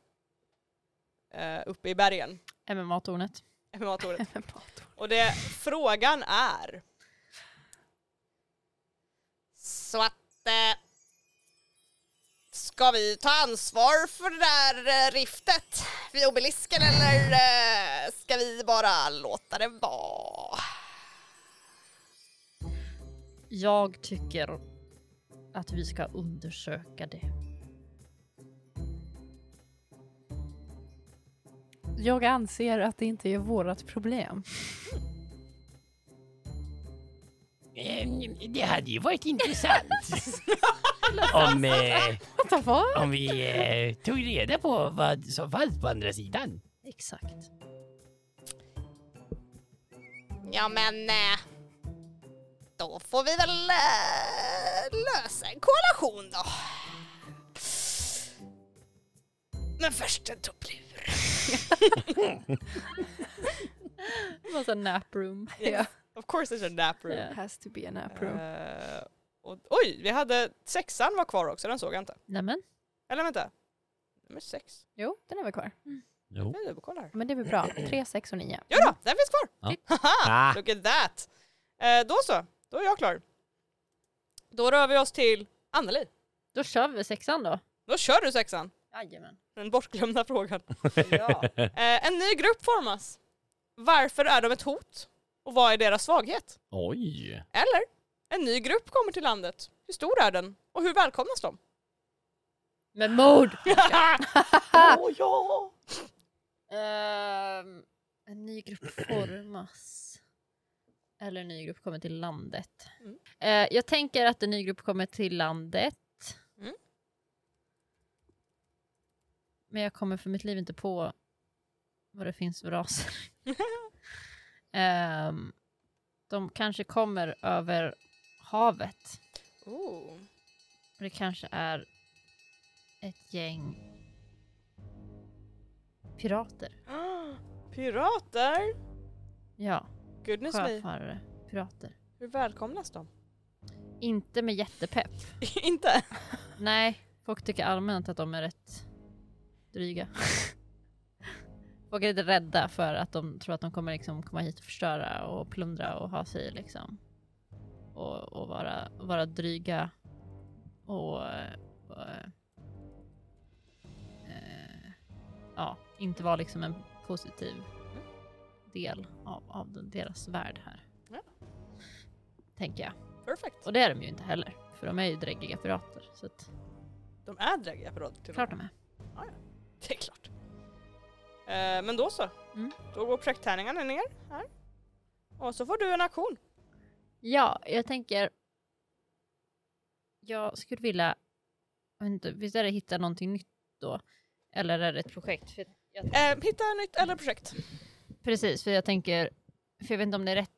Speaker 1: eh, uppe i bergen,
Speaker 3: MMA-tornet.
Speaker 1: MMA-tornet. Och det, frågan är... Så att... Eh, ska vi ta ansvar för det där eh, riftet vid obelisken eller eh, ska vi bara låta det vara?
Speaker 3: Jag tycker att vi ska undersöka det.
Speaker 2: Jag anser att det inte är vårt problem.
Speaker 5: Ehm, Det hade ju varit intressant. om, eh,
Speaker 2: Vänta, vad?
Speaker 5: om vi eh, tog reda på vad som fanns på andra sidan.
Speaker 3: Exakt.
Speaker 1: Ja men... Eh, då får vi väl eh, lösa en koalition då. Men först en tupplur.
Speaker 3: Massa naproom.
Speaker 2: Yeah.
Speaker 1: Of course it's a nap room.
Speaker 2: Has to be an apro.
Speaker 1: Eh, och, oj, vi hade sexan var kvar också, den såg jag inte.
Speaker 3: Nämen.
Speaker 1: Eller vänta. Nummer sex.
Speaker 2: Jo, den är väl kvar.
Speaker 4: Jo.
Speaker 1: Jag dubbelkollar.
Speaker 2: Men det är väl bra. 3, 6 och 9.
Speaker 1: Ja då, den finns kvar!
Speaker 4: Ja.
Speaker 1: Haha,
Speaker 4: Ah.
Speaker 1: look at that! Eh, då så, då är jag klar. Då rör vi oss till Anneli.
Speaker 3: Då kör vi sexan då.
Speaker 1: Då kör du sexan.
Speaker 3: Jajamän.
Speaker 1: Den bortglömda frågan.
Speaker 3: Ja.
Speaker 1: Eh, en ny grupp formas. Varför är de ett hot? Och vad är deras svaghet?
Speaker 4: Oj.
Speaker 1: Eller, en ny grupp kommer till landet. Hur stor är den? Och hur välkomnas de?
Speaker 3: Med mord!
Speaker 4: Åh ja!
Speaker 3: Ehm, en ny grupp formas. Eller en ny grupp kommer till landet.
Speaker 1: Mm.
Speaker 3: Eh, jag tänker att en ny grupp kommer till landet.
Speaker 1: Mm.
Speaker 3: Men jag kommer för mitt liv inte på vad det finns för raser. Ehm, de kanske kommer över havet.
Speaker 1: Oh.
Speaker 3: Och det kanske är ett gäng pirater.
Speaker 1: Ah, Pirater!
Speaker 3: Ja,
Speaker 1: Goodness me.
Speaker 3: sjöfarare, pirater.
Speaker 1: Hur välkomnas de?
Speaker 3: Inte med jättepepp.
Speaker 1: Inte?
Speaker 3: Nej, folk tycker allmänt att de är rätt dryga. Folk är lite rädda för att de tror att de kommer liksom komma hit och förstöra och plundra och ha sig liksom. Och, och vara, vara dryga och, och eh, ja, inte vara liksom en positiv del av, av deras värld här.
Speaker 1: Ja.
Speaker 3: Tänker jag.
Speaker 1: Perfect.
Speaker 3: Och det är de ju inte heller, för de är ju dräggiga pirater. Så att,
Speaker 1: De är drägliga pirater till och
Speaker 3: klart
Speaker 1: med.
Speaker 3: de är.
Speaker 1: Det är klart. Eh, men då så.
Speaker 3: Mm.
Speaker 1: Då går projekttärningarna ner här. Och så får du en aktion.
Speaker 3: Ja, jag tänker... Jag skulle vilja... Jag vet inte, visst är det hitta någonting nytt då? Eller är det ett projekt? För jag,
Speaker 1: Eh, hitta ett nytt eller projekt.
Speaker 3: precis, för jag tänker... För jag vet inte om det är rätt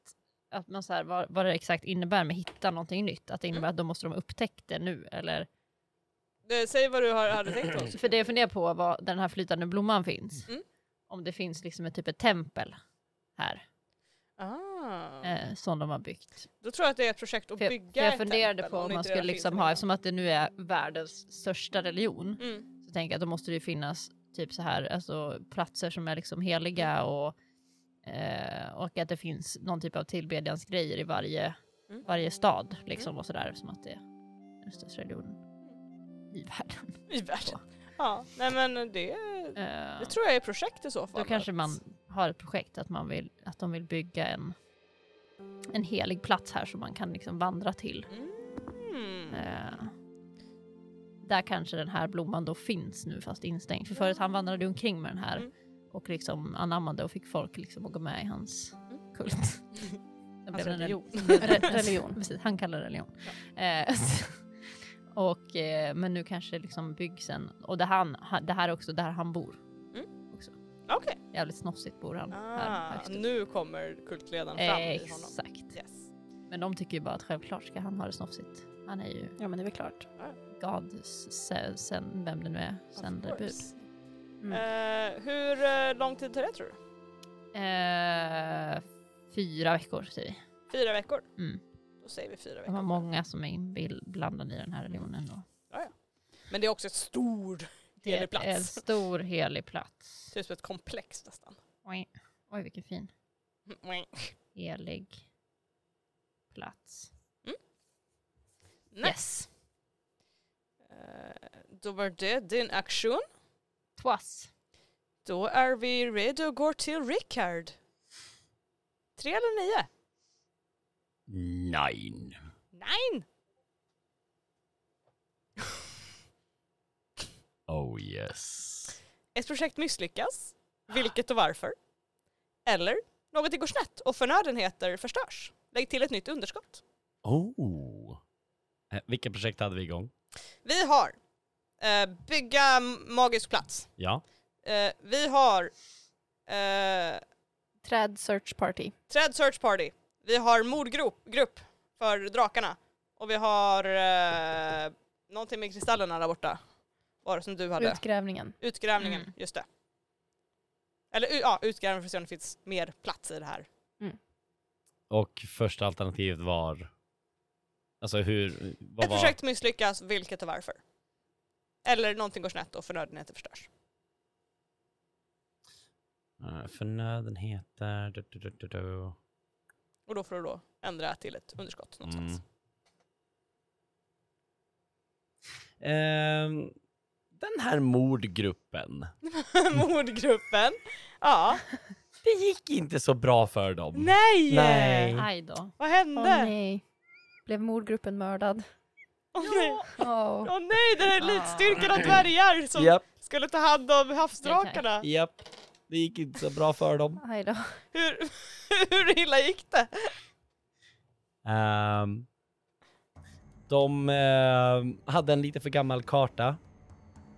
Speaker 3: att man så här, vad, vad det exakt innebär med hitta någonting nytt. Att det innebär att då måste de upptäcka det nu eller...
Speaker 1: Eh, säg vad du har, hade tänkt oss.
Speaker 3: För det jag funderar på var där den här flytande blomman finns.
Speaker 1: Mm.
Speaker 3: Om det finns liksom ett typ ett tempel här
Speaker 1: Ah.
Speaker 3: eh, som de har byggt.
Speaker 1: Då tror jag att det är ett projekt att
Speaker 3: För jag, för
Speaker 1: bygga
Speaker 3: jag
Speaker 1: ett
Speaker 3: funderade
Speaker 1: tempel,
Speaker 3: på
Speaker 1: det
Speaker 3: om man
Speaker 1: inte
Speaker 3: skulle
Speaker 1: redan finns
Speaker 3: liksom
Speaker 1: en
Speaker 3: ha,
Speaker 1: annan.
Speaker 3: eftersom att det nu är världens största religion.
Speaker 1: Mm.
Speaker 3: så tänker jag att då måste det ju finnas typ så här, alltså platser som är liksom heliga och, eh, och att det finns någon typ av tillbedjansgrejer i varje,
Speaker 1: Mm.
Speaker 3: varje stad liksom och sådär som att det är den största religionen i världen.
Speaker 1: I världen. Ja, nej men det,
Speaker 3: Eh,
Speaker 1: det tror jag är projekt i så fall.
Speaker 3: då kanske
Speaker 1: Att-
Speaker 3: man har ett projekt att, man vill, att de vill bygga en, en helig plats här som man kan liksom vandra till.
Speaker 1: Mm.
Speaker 3: Eh, där kanske den här blomman då finns nu fast instängd. För förut han vandrade ju omkring med den här
Speaker 1: Mm.
Speaker 3: och liksom anammade och fick folk liksom att gå med i hans kult. Den blev
Speaker 1: Mm. Alltså,
Speaker 3: en
Speaker 1: religion.
Speaker 3: re-
Speaker 2: Religion.
Speaker 3: Precis, han kallar det religion. Eh, och, eh, men nu kanske liksom byggs en, och det, han, ha- det här är också där han bor.
Speaker 1: Okej,
Speaker 3: Jävligt snossigt bor han här
Speaker 1: Ah,
Speaker 3: högst upp.
Speaker 1: nu kommer kultledaren fram i honom.
Speaker 3: Exakt.
Speaker 1: Yes.
Speaker 3: Men de tycker ju bara att självklart ska han ha det snofsigt. Han är ju
Speaker 2: Ja men det är väl klart.
Speaker 3: God se- sen vem det nu är,
Speaker 1: Of
Speaker 3: sänderbud.
Speaker 1: course.
Speaker 2: Mm.
Speaker 1: Eh, hur eh, lång tid tar det tror du?
Speaker 3: Eh, fyra veckor säger vi.
Speaker 1: Fyra veckor?
Speaker 3: Mm.
Speaker 1: Då säger vi fyra
Speaker 3: De har
Speaker 1: veckor.
Speaker 3: många som är inblandade i den här religionen. Då.
Speaker 1: Men det är också ett stort, helig
Speaker 3: Det är en
Speaker 1: plats.
Speaker 3: stor helig plats.
Speaker 1: Ser ut som ett komplex nästan.
Speaker 3: Oj, Oj vilken fin.
Speaker 1: Mm.
Speaker 3: Helig plats.
Speaker 1: Nice.
Speaker 3: Yes.
Speaker 1: Eh, då var det din aktion.
Speaker 3: Twas.
Speaker 1: Då är vi redo och går till Rickard. Tre eller nio?
Speaker 4: Nein.
Speaker 1: Nein!
Speaker 4: Oh yes.
Speaker 1: Ett projekt misslyckas. Vilket och varför? Eller något går snett och förnödenheter förstörs. Lägg till ett nytt underskott.
Speaker 4: Oh. Eh, vilka projekt hade vi igång?
Speaker 1: Vi har eh, bygga magisk plats.
Speaker 4: Ja.
Speaker 1: Eh, vi har eh,
Speaker 2: Träd search party.
Speaker 1: träd search party. Vi har mordgrupp grupp för drakarna. Och vi har eh, någonting med kristallerna där borta. Var det som du hade?
Speaker 2: Utgrävningen.
Speaker 1: Utgrävningen,
Speaker 3: Mm.
Speaker 1: just det. Eller u- ja, utgrävningen för att se om det finns mer plats i det här.
Speaker 4: Och första alternativet var... Alltså hur... Vad
Speaker 1: Ett
Speaker 4: var...
Speaker 1: projekt misslyckas, vilket och varför. Eller någonting går snett och förnödenheter förstörs.
Speaker 4: Eh, förnödenheter... Du, du, du, du, du.
Speaker 1: Och då får du då ändra till ett underskott någonstans.
Speaker 4: Mm. Ehm, den här mordgruppen. Mm.
Speaker 1: Mordgruppen. Ja.
Speaker 4: Det gick inte så bra för dem.
Speaker 1: Nej!
Speaker 4: Nej.
Speaker 3: Aj då.
Speaker 1: Vad
Speaker 2: Åh
Speaker 1: hände? Åh nej!
Speaker 2: nej. Blev mordgruppen mördad?
Speaker 1: Åh nej.
Speaker 2: Åh.
Speaker 1: den här elitstyrkan av dvärgar som
Speaker 4: Japp,
Speaker 1: skulle ta hand om havsdrakarna.
Speaker 4: japp. Det gick inte så bra för dem.
Speaker 2: Aj då.
Speaker 1: Hur, hur illa gick det?
Speaker 4: Ehm, de ehm, hade en lite för gammal karta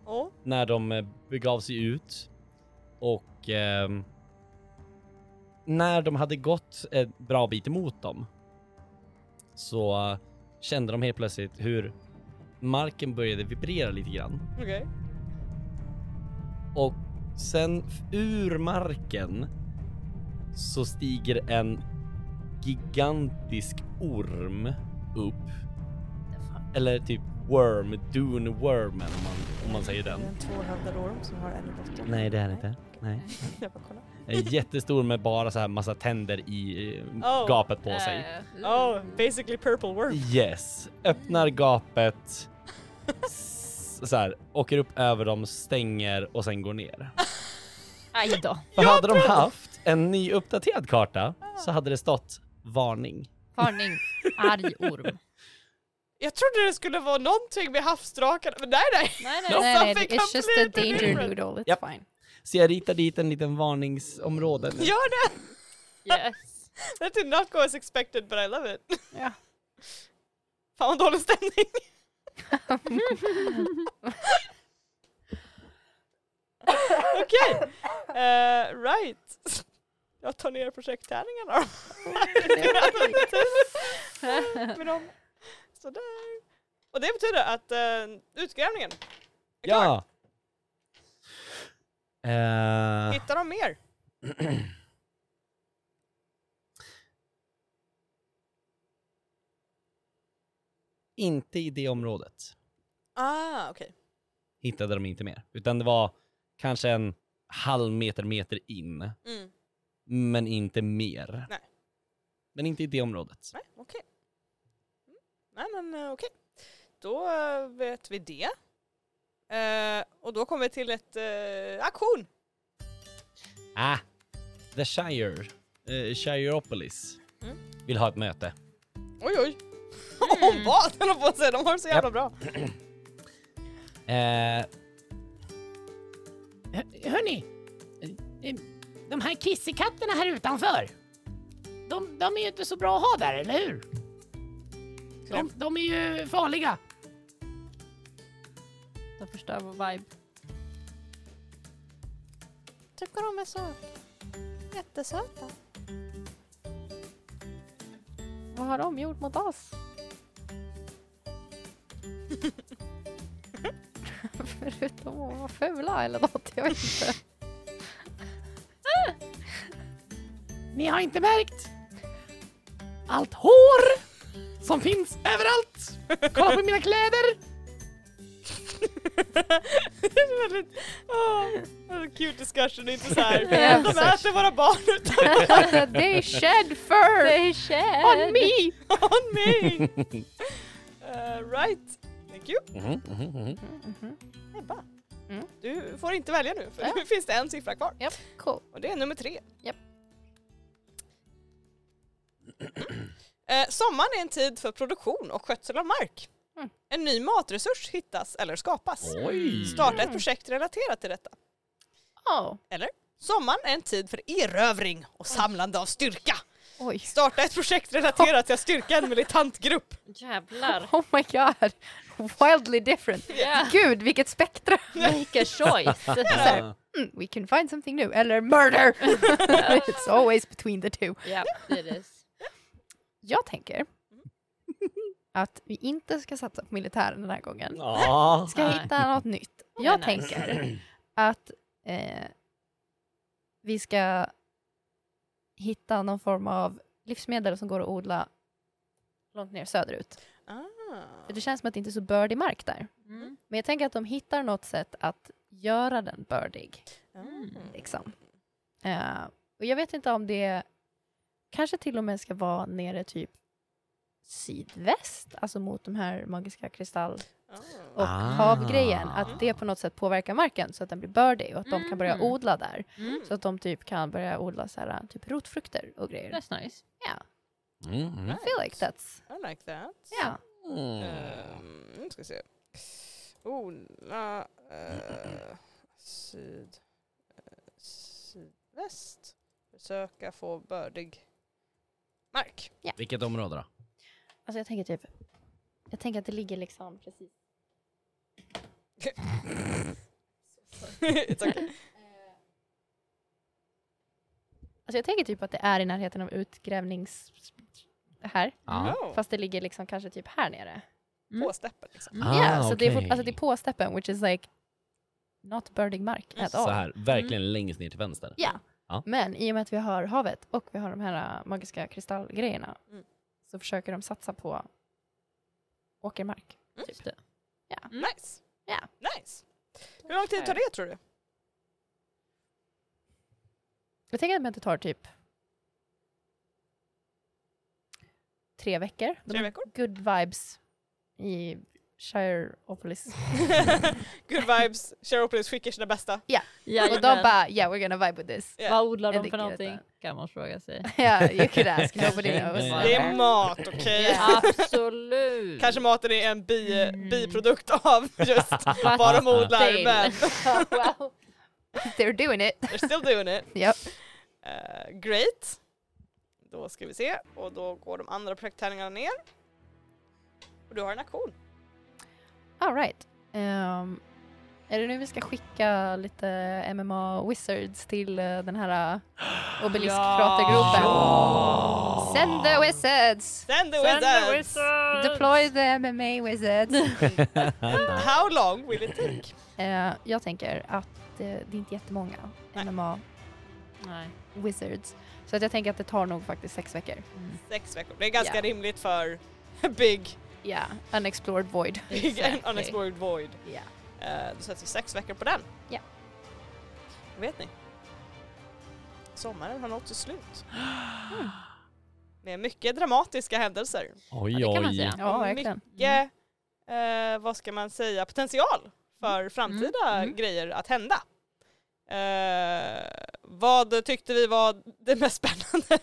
Speaker 1: Åh,
Speaker 4: när de eh, begav sig ut. Och ehm, när de hade gått en bra bit emot dem så eh, kände de helt plötsligt hur marken började vibrera lite grann.
Speaker 1: okej.
Speaker 4: Och sen f- ur marken så stiger en gigantisk orm upp. Eller typ worm, dune wormen om man, om man säger den.
Speaker 1: en tvåhövdad orm som har en i botten.
Speaker 4: Nej det är det inte. Nej.
Speaker 1: Jag bara kollar.
Speaker 4: En jättestor med bara så här massa tänder i eh,
Speaker 1: Oh.
Speaker 4: gapet på sig.
Speaker 3: Eh,
Speaker 1: Oh, basically purple worm.
Speaker 4: Yes. Öppnar gapet, s- så här, åker upp över dem, stänger och sen går ner.
Speaker 3: Aj då.
Speaker 4: För hade de haft en ny uppdaterad karta så hade det stått varning.
Speaker 3: Varning. Arg orm.
Speaker 1: Jag trodde det skulle vara någonting med havsdrakarna, men nej nej.
Speaker 3: Nej, nej.
Speaker 2: Nej, nej,
Speaker 1: Something
Speaker 2: it's just a
Speaker 1: completely
Speaker 2: danger
Speaker 1: different.
Speaker 2: noodle. It's
Speaker 4: Japp.
Speaker 2: fine.
Speaker 4: Så jag ritar dit en liten varningsområde nu.
Speaker 1: Gör det!
Speaker 3: Yes.
Speaker 1: That did not go as expected but I love it.
Speaker 2: Ja.
Speaker 1: Fan vad dålig stämning. Okej. Eh, right. Jag tar ner projekttärningarna då. Med dem. Sådär. Och det betyder att eh, utgrävningen,
Speaker 4: Ja! Eh,
Speaker 1: hittar de mer?
Speaker 4: inte i det området
Speaker 1: Ah, okej.
Speaker 4: hittade de inte mer. Utan det var kanske en halv meter, meter in.
Speaker 1: Mm.
Speaker 4: Men inte mer.
Speaker 1: Nej.
Speaker 4: Men inte i det området.
Speaker 1: Nej, okej. Mm. Nej, men eh, okej. Då eh, vet vi det. Eh, och då kommer vi till ett uh, aktion.
Speaker 4: Ah! The Shire. Uh, Shireopolis.
Speaker 1: Mm.
Speaker 4: Vill ha ett möte.
Speaker 1: Oj, oj. Om
Speaker 2: Mm.
Speaker 1: vad, höll jag på att säga. De har det så jävla bra.
Speaker 4: Eh,
Speaker 5: Hör, hörni, eh, eh, de här kissekatterna här utanför. De, de är ju inte så bra att ha där, eller hur? De, de är ju farliga.
Speaker 3: De förstör vår vibe.
Speaker 1: Tycker Typ de är så jättesöta.
Speaker 2: Vad har de gjort mot oss? Förutom att vara fula eller något, jag vet inte.
Speaker 5: Ni har inte märkt allt hår som finns överallt. Kolla på mina kläder.
Speaker 1: det är väldigt... åh, det är en cute discussion, det är inte så här.
Speaker 2: Ja,
Speaker 1: De
Speaker 2: precis.
Speaker 1: äter våra barn utan
Speaker 2: They shed fur! They shed! On me!
Speaker 1: on me! Eh, right, thank you.
Speaker 4: Mhm, mhm,
Speaker 2: mm-hmm.
Speaker 4: mhm.
Speaker 1: Ebba,
Speaker 2: Mm.
Speaker 1: du får inte välja nu för
Speaker 2: Ja.
Speaker 1: nu finns det en siffra kvar
Speaker 2: Japp, cool.
Speaker 1: och det är nummer tre.
Speaker 2: Japp.
Speaker 1: Eh, sommaren är en tid för produktion och skötsel av mark.
Speaker 2: Mm.
Speaker 1: En ny matresurs hittas eller skapas.
Speaker 4: Oj!
Speaker 1: Starta ett
Speaker 2: Mm.
Speaker 1: projekt relaterat till detta.
Speaker 2: Oh.
Speaker 1: Sommaren är en tid för erövring och samlande av styrka.
Speaker 2: Oj.
Speaker 1: Starta ett projekt relaterat till att styrka en militant grupp.
Speaker 3: Jävlar.
Speaker 2: Oh my god. Wildly different.
Speaker 3: Yeah.
Speaker 2: Gud, vilket spektra!
Speaker 3: Make a choice.
Speaker 5: Alltså.
Speaker 4: Ja.
Speaker 2: Mm, we can find something new. Eller murder! It's always between the two.
Speaker 3: Ja, it is.
Speaker 2: Jag tänker att vi inte ska satsa på militären den här gången.
Speaker 4: Ja.
Speaker 2: Ska
Speaker 3: Nej.
Speaker 2: hitta något nytt.
Speaker 3: är
Speaker 2: Jag
Speaker 3: nice.
Speaker 2: tänker att eh, vi ska hitta någon form av livsmedel som går att odla långt ner söderut.
Speaker 1: Ah.
Speaker 2: För det känns som att det inte Ah. är så bördig mark där.
Speaker 3: Mm.
Speaker 2: Men jag tänker att de hittar något sätt att göra den bördig.
Speaker 1: Mm.
Speaker 2: Liksom. Eh, och jag vet inte om det kanske till och med ska vara nere typ sydväst, alltså mot de här magiska kristall och
Speaker 4: Ah.
Speaker 2: havgrejen, att det på något sätt påverkar marken så att den blir bördig och att de kan börja
Speaker 3: Mm.
Speaker 2: odla där.
Speaker 3: Mm.
Speaker 2: Så att de typ kan börja odla så här, typ rotfrukter och grejer.
Speaker 3: That's nice.
Speaker 4: Mm, mm.
Speaker 2: I feel like that's...
Speaker 1: I like that.
Speaker 2: Yeah.
Speaker 4: Eh.
Speaker 1: Ehm, nu ska vi se. Ola, eh, syd, eh, sydväst. Försöka få bördig mark.
Speaker 4: Vilket område då?
Speaker 2: Alltså jag tänker typ... Jag tänker att det ligger liksom precis...
Speaker 1: It's okay.
Speaker 2: Alltså jag tänker typ att det är i närheten av utgrävnings... Här.
Speaker 5: Mm.
Speaker 4: Ja.
Speaker 1: Oh,
Speaker 2: Fast mm. det ligger liksom kanske typ här nere.
Speaker 1: På steppen liksom.
Speaker 3: Mm.
Speaker 2: Ja,
Speaker 4: Ah,
Speaker 2: så det är, fort,
Speaker 4: okej.
Speaker 2: alltså det är på steppen, which is like not bördig mark at all.
Speaker 4: Så här, verkligen längst ner till vänster.
Speaker 2: Ja.
Speaker 4: Ja.
Speaker 2: Men i och med att vi har havet och vi har de här äh, magiska kristallgrejerna
Speaker 1: Mm.
Speaker 2: så försöker de satsa på åkermark.
Speaker 3: Typ det.
Speaker 1: Nice.
Speaker 2: Mm. Ja.
Speaker 1: nice. Hur lång tid tar det tror du?
Speaker 2: Jag tänker att det inte tar typ tre veckor. De
Speaker 1: Tre
Speaker 2: har
Speaker 1: veckor?
Speaker 2: Good vibes i Shireopolis.
Speaker 1: Good vibes, Cheropolis skickar sina bästa.
Speaker 2: och de bara “Yeah, we're gonna vibe with this”.
Speaker 1: Ja.
Speaker 3: Vad odlar
Speaker 2: Jag
Speaker 3: de
Speaker 2: tycker
Speaker 3: för
Speaker 2: det.
Speaker 3: någonting? Kan man fråga sig.
Speaker 2: yeah, you could ask, nobody knows.
Speaker 4: Det
Speaker 1: Det är mat, okej?
Speaker 3: Absolut!
Speaker 1: Kanske maten är en bi,
Speaker 3: Mm.
Speaker 1: biprodukt av just vad de odlar,
Speaker 3: Fail.
Speaker 1: men
Speaker 2: well, they're doing it.
Speaker 1: they're still doing it.
Speaker 2: Yep.
Speaker 1: Eh, great. Då ska vi se. Och då går de andra projekttärningarna ner. Och du har en aktion.
Speaker 2: Alright. Um, är det nu vi ska skicka lite MMA Wizards till eh, den här uh, obeliskkratergropen? Send the wizards!
Speaker 1: Send the
Speaker 2: Send the
Speaker 1: wizards!
Speaker 2: Deploy the MMA wizards!
Speaker 1: How long will it take?
Speaker 2: Eh, jag tänker att eh, det är inte jättemånga
Speaker 1: Nej.
Speaker 2: MMA
Speaker 3: Nej.
Speaker 2: Wizards. Så att jag tänker att det tar nog faktiskt sex veckor.
Speaker 3: Mm.
Speaker 1: Sex veckor. Det är ganska
Speaker 2: Ja.
Speaker 1: rimligt för big,
Speaker 2: Ja, unexplored void.
Speaker 1: big and
Speaker 3: Exactly.
Speaker 1: unexplored void.
Speaker 2: Ja.
Speaker 1: Eh, Då sätter vi sex veckor på den.
Speaker 2: Ja.
Speaker 1: Då Vet ni? Sommaren har nått sitt slut.
Speaker 2: Mm.
Speaker 1: Med mycket dramatiska händelser.
Speaker 4: Oj,
Speaker 3: Ja, Mm. det kan man
Speaker 4: oj.
Speaker 3: säga.
Speaker 2: Ja,
Speaker 1: Och
Speaker 2: verkligen.
Speaker 1: Mycket, eh, vad ska man säga, potential
Speaker 3: Mm.
Speaker 1: för framtida grejer att hända. Eh, vad tyckte vi var det mest spännande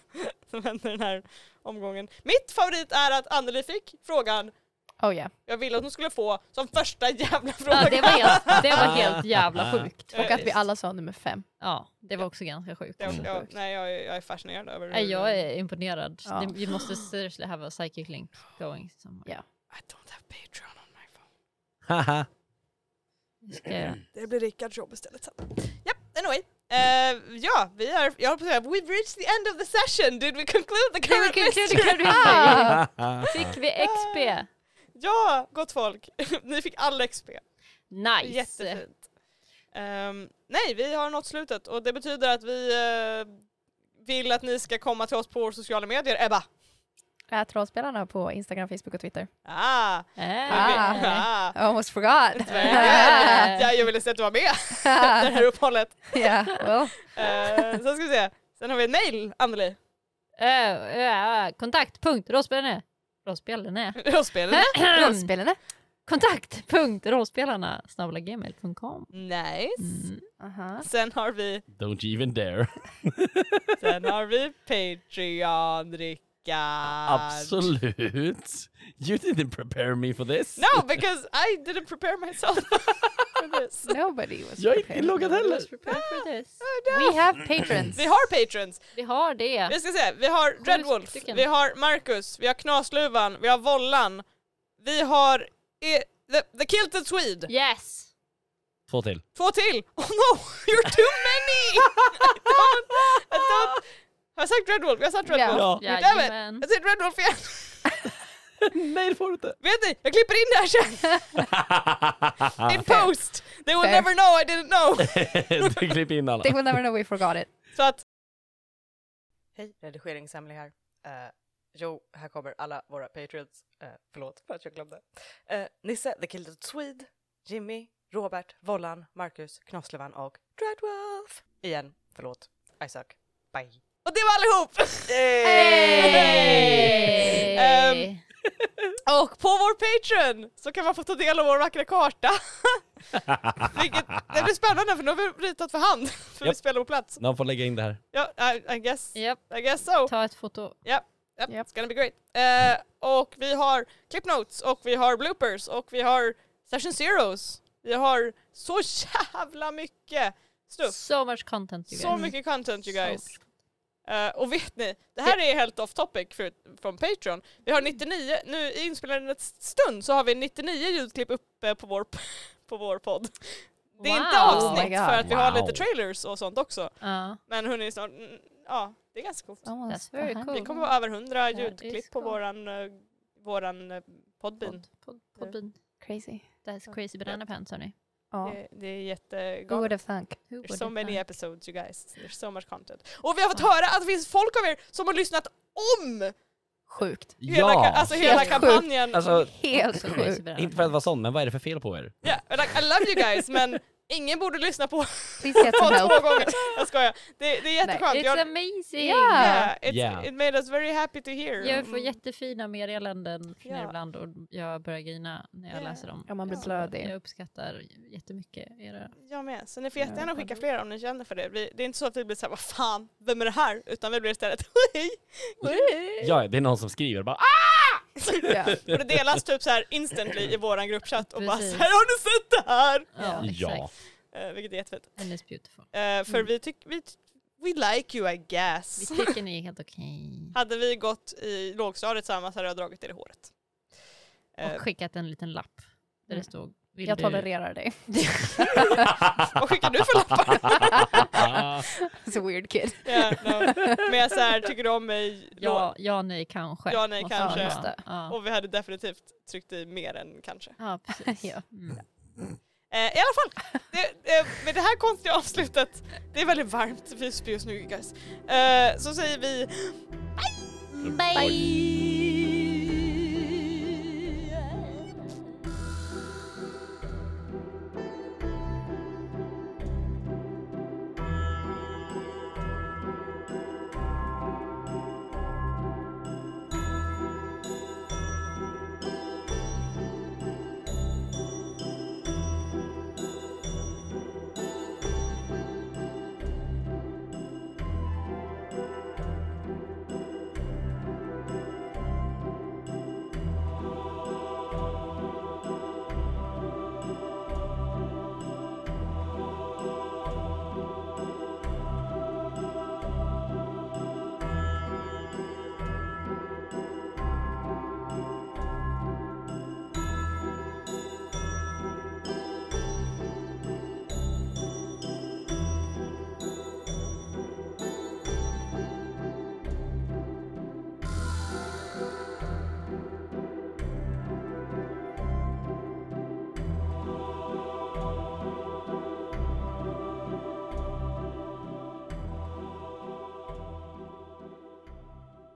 Speaker 1: som hände den här omgången? Mitt favorit är att Anneli fick frågan
Speaker 2: Oh yeah.
Speaker 1: jag ville att hon skulle få som första jävla fråga.
Speaker 3: Ja, det, var helt, det var
Speaker 1: Ah.
Speaker 3: helt jävla sjukt
Speaker 2: Och att vi
Speaker 3: faktiskt.
Speaker 2: alla sa nummer fem.
Speaker 3: Ja, det var också ganska sjukt.
Speaker 1: Jag, jag, nej, jag, är- jag är fascinerad över
Speaker 3: Nej, jag är imponerad.
Speaker 2: Ja.
Speaker 3: Det- Vi måste seriously have a psychic link going. somewhere.
Speaker 2: Ja.
Speaker 1: I don't have Patreon on my phone.
Speaker 4: Haha.
Speaker 3: Vi ska-
Speaker 1: Det blir Rickards jobb istället sen. Japp. anyway. Eh, ja, vi är, jag höll på att säga, we've reached the end of the session, did we conclude the current mystery?
Speaker 3: Ah! Fick vi XP?
Speaker 1: Ja, gott folk. Ni fick all XP.
Speaker 3: Nice.
Speaker 1: Jättefint. Ehm, nej, vi har nått slutet och det betyder att vi eh, vill att ni ska komma till oss på våra sociala medier, Ebba.
Speaker 2: Ät rollspelarna på Instagram, Facebook och Twitter.
Speaker 1: Ah,
Speaker 3: Ah.
Speaker 1: okej. Ah.
Speaker 2: I almost forgot.
Speaker 1: Verkligen. Ja, jag ville se att du var med det här uppehållet.
Speaker 2: yeah, well.
Speaker 1: Uh, sen ska vi se. Sen har vi en mail, Anneli.
Speaker 3: Eh, eh, Kontakt, punkt, rollspelarna. Rollspelarna.
Speaker 1: Rollspelen?
Speaker 2: Rollspelarna.
Speaker 3: Kontakt, punkt, rollspelarna. Snabla gmail.com.
Speaker 1: Nice.
Speaker 3: Mm.
Speaker 2: Aha.
Speaker 1: Sen har vi,
Speaker 4: Don't even dare.
Speaker 1: sen har vi Patreon, Rickard.
Speaker 4: Absolut. You didn't prepare me for this.
Speaker 1: No, because I didn't prepare myself for this.
Speaker 2: Nobody was
Speaker 4: Jag är inte
Speaker 2: prepared.
Speaker 4: inloggad heller.
Speaker 2: We have patrons.
Speaker 1: Vi har patrons.
Speaker 3: Vi har det.
Speaker 1: Vi ska se, vi har Dreadwolf,
Speaker 3: stycken.
Speaker 1: vi har Marcus, vi har Knasluvan, vi har Vollan, vi har e- the, the Kilted Swede.
Speaker 3: Yes.
Speaker 4: Två till.
Speaker 1: Två till! Oh no, you're too many! I don't, I don't. Har jag sagt Dreadwolf? Jag har sagt Dreadwolf.
Speaker 4: Ja.
Speaker 1: Damn it.
Speaker 3: Jajamän.
Speaker 1: Jag säger Dreadwolf igen.
Speaker 4: Nej det får du inte.
Speaker 1: Vet ni, jag klipper in det här sen. In post! They will
Speaker 2: Fair.
Speaker 1: never know I didn't know.
Speaker 4: du klipper in alla.
Speaker 2: They will never know we forgot it.
Speaker 1: Så att,
Speaker 6: Hej, redigeringshemlig här. Eh, jo, här kommer alla våra Patriots. Eh, förlåt för att jag glömde. Eh, Nisse, The Killed Swede, Jimmy, Robert, Vollan, Marcus, Knosslevan och Dreadwolf. Igen, förlåt. I suck. Bye.
Speaker 1: och det var allihop!
Speaker 3: Hey!
Speaker 1: Ehm, Och på vår Patreon så kan man få ta del av vår vackra karta. Vilket, det blir spännande för nu har vi ritat för hand. För vi
Speaker 4: Japp.
Speaker 1: spelar på plats.
Speaker 4: Någon får lägga in det här.
Speaker 1: Ja, I, I guess.
Speaker 3: Japp,
Speaker 1: I guess so.
Speaker 3: ta ett foto.
Speaker 1: Yep,
Speaker 2: Japp.
Speaker 1: It's gonna be great. Eh, och vi har clip notes och vi har bloopers och vi har session zeros. Vi har så jävla mycket stuff.
Speaker 3: So much content you guys.
Speaker 1: Så mycket content you
Speaker 3: So
Speaker 1: guys. Eh, och vet ni, det här är helt off topic för, från Patreon. Vi har 99, nu i inspelningens stund så har vi 99 ljudklipp uppe på vår, på vår podd. Det är inte
Speaker 3: Wow.
Speaker 1: avsnitt
Speaker 2: Oh my God.
Speaker 1: för att vi har
Speaker 4: Wow.
Speaker 1: lite trailers och sånt också.
Speaker 3: Ja,
Speaker 1: Men hörni, snart, mm, ja det är ganska coolt.
Speaker 2: Almost. Uh-huh.
Speaker 3: that's very
Speaker 2: Aha.
Speaker 3: cool.
Speaker 1: Vi kommer vara över 100
Speaker 3: Ja, Oh. det är
Speaker 1: ljudklipp på
Speaker 3: skoj.
Speaker 1: våran, eh, våran eh, poddbin.
Speaker 3: Podd, podd, poddbin.
Speaker 2: Crazy.
Speaker 3: That's crazy banana pants hörni.
Speaker 2: Ja.
Speaker 1: Det, det är
Speaker 2: Who would
Speaker 1: jättegalet.
Speaker 2: have thunk?
Speaker 3: Who would
Speaker 1: There's so
Speaker 3: have
Speaker 1: many
Speaker 3: thought?
Speaker 1: episodes you guys. There's so much content. Och vi har fått höra att det finns folk av er som har lyssnat om
Speaker 2: Sjukt.
Speaker 1: hela, ka- alltså hela
Speaker 2: Helt
Speaker 1: kampanjen.
Speaker 4: Alltså,
Speaker 2: Helt sjukt.
Speaker 3: Crazy banana
Speaker 4: inte för att vara sån, men vad är det för fel på er?
Speaker 1: Yeah, like, I love you guys men ingen borde lyssna på
Speaker 2: Please get
Speaker 1: på
Speaker 2: some
Speaker 1: två
Speaker 2: help.
Speaker 1: gånger. Jag skojar. Det, det är jätteskönt.
Speaker 3: It's
Speaker 1: Jag,
Speaker 3: amazing!
Speaker 2: Ja.
Speaker 1: yeah, it's,
Speaker 4: Yeah.
Speaker 1: It made us very happy to hear.
Speaker 3: Jag får
Speaker 1: Mm.
Speaker 3: jättefina meddelanden från
Speaker 1: Ja.
Speaker 3: er ibland och jag börjar grina när jag
Speaker 1: Ja.
Speaker 3: läser dem.
Speaker 2: Ja, man blir
Speaker 3: Så
Speaker 2: blödig.
Speaker 3: Jag uppskattar jättemycket era...
Speaker 1: Jag med. Så ni får jättegärna
Speaker 3: Ja.
Speaker 1: skicka fler om ni känner för det. Vi, det är inte så att vi blir såhär, vad fan, vem är det här? Utan vi blir istället, hej! Eh.
Speaker 4: Ja, det är någon som skriver bara ah!
Speaker 2: Ja.
Speaker 1: Och det delas typ så här instantly i våran gruppchatt och bara
Speaker 3: Precis.
Speaker 1: så här, har ni sett det här?
Speaker 3: Ja,
Speaker 4: Ja.
Speaker 3: exakt.
Speaker 1: Eh, vilket är jättefint.
Speaker 3: And it's beautiful.
Speaker 1: Eh, för
Speaker 3: Mm.
Speaker 1: vi tycker, vi, ty- we like you I
Speaker 3: Vi
Speaker 1: guess.
Speaker 3: tycker ni är helt okej.
Speaker 1: Hade vi gått i lågstadiet tillsammans hade jag dragit er i håret. Eh, Mm.
Speaker 3: Och skickat en liten lapp där det stod Vill
Speaker 2: Jag
Speaker 3: du-
Speaker 2: tolererar dig.
Speaker 1: vad skickar du för lappar?
Speaker 2: It's a weird kid.
Speaker 1: Ja, no. Men så här, tycker du om mig?
Speaker 3: Ja, ja, nej, kanske.
Speaker 1: Ja, nej,
Speaker 3: Måste
Speaker 1: kanske.
Speaker 3: man
Speaker 2: Just
Speaker 3: ha.
Speaker 2: det.
Speaker 3: Ja,
Speaker 1: Och vi hade definitivt tryckt i mer än kanske.
Speaker 3: ja precis.
Speaker 2: Ja.
Speaker 3: Mm.
Speaker 1: Eh, I alla fall, det, eh, med det här konstiga avslutet, det är väldigt varmt, vi spyr just nu guys. Eh, så säger vi
Speaker 4: Bye.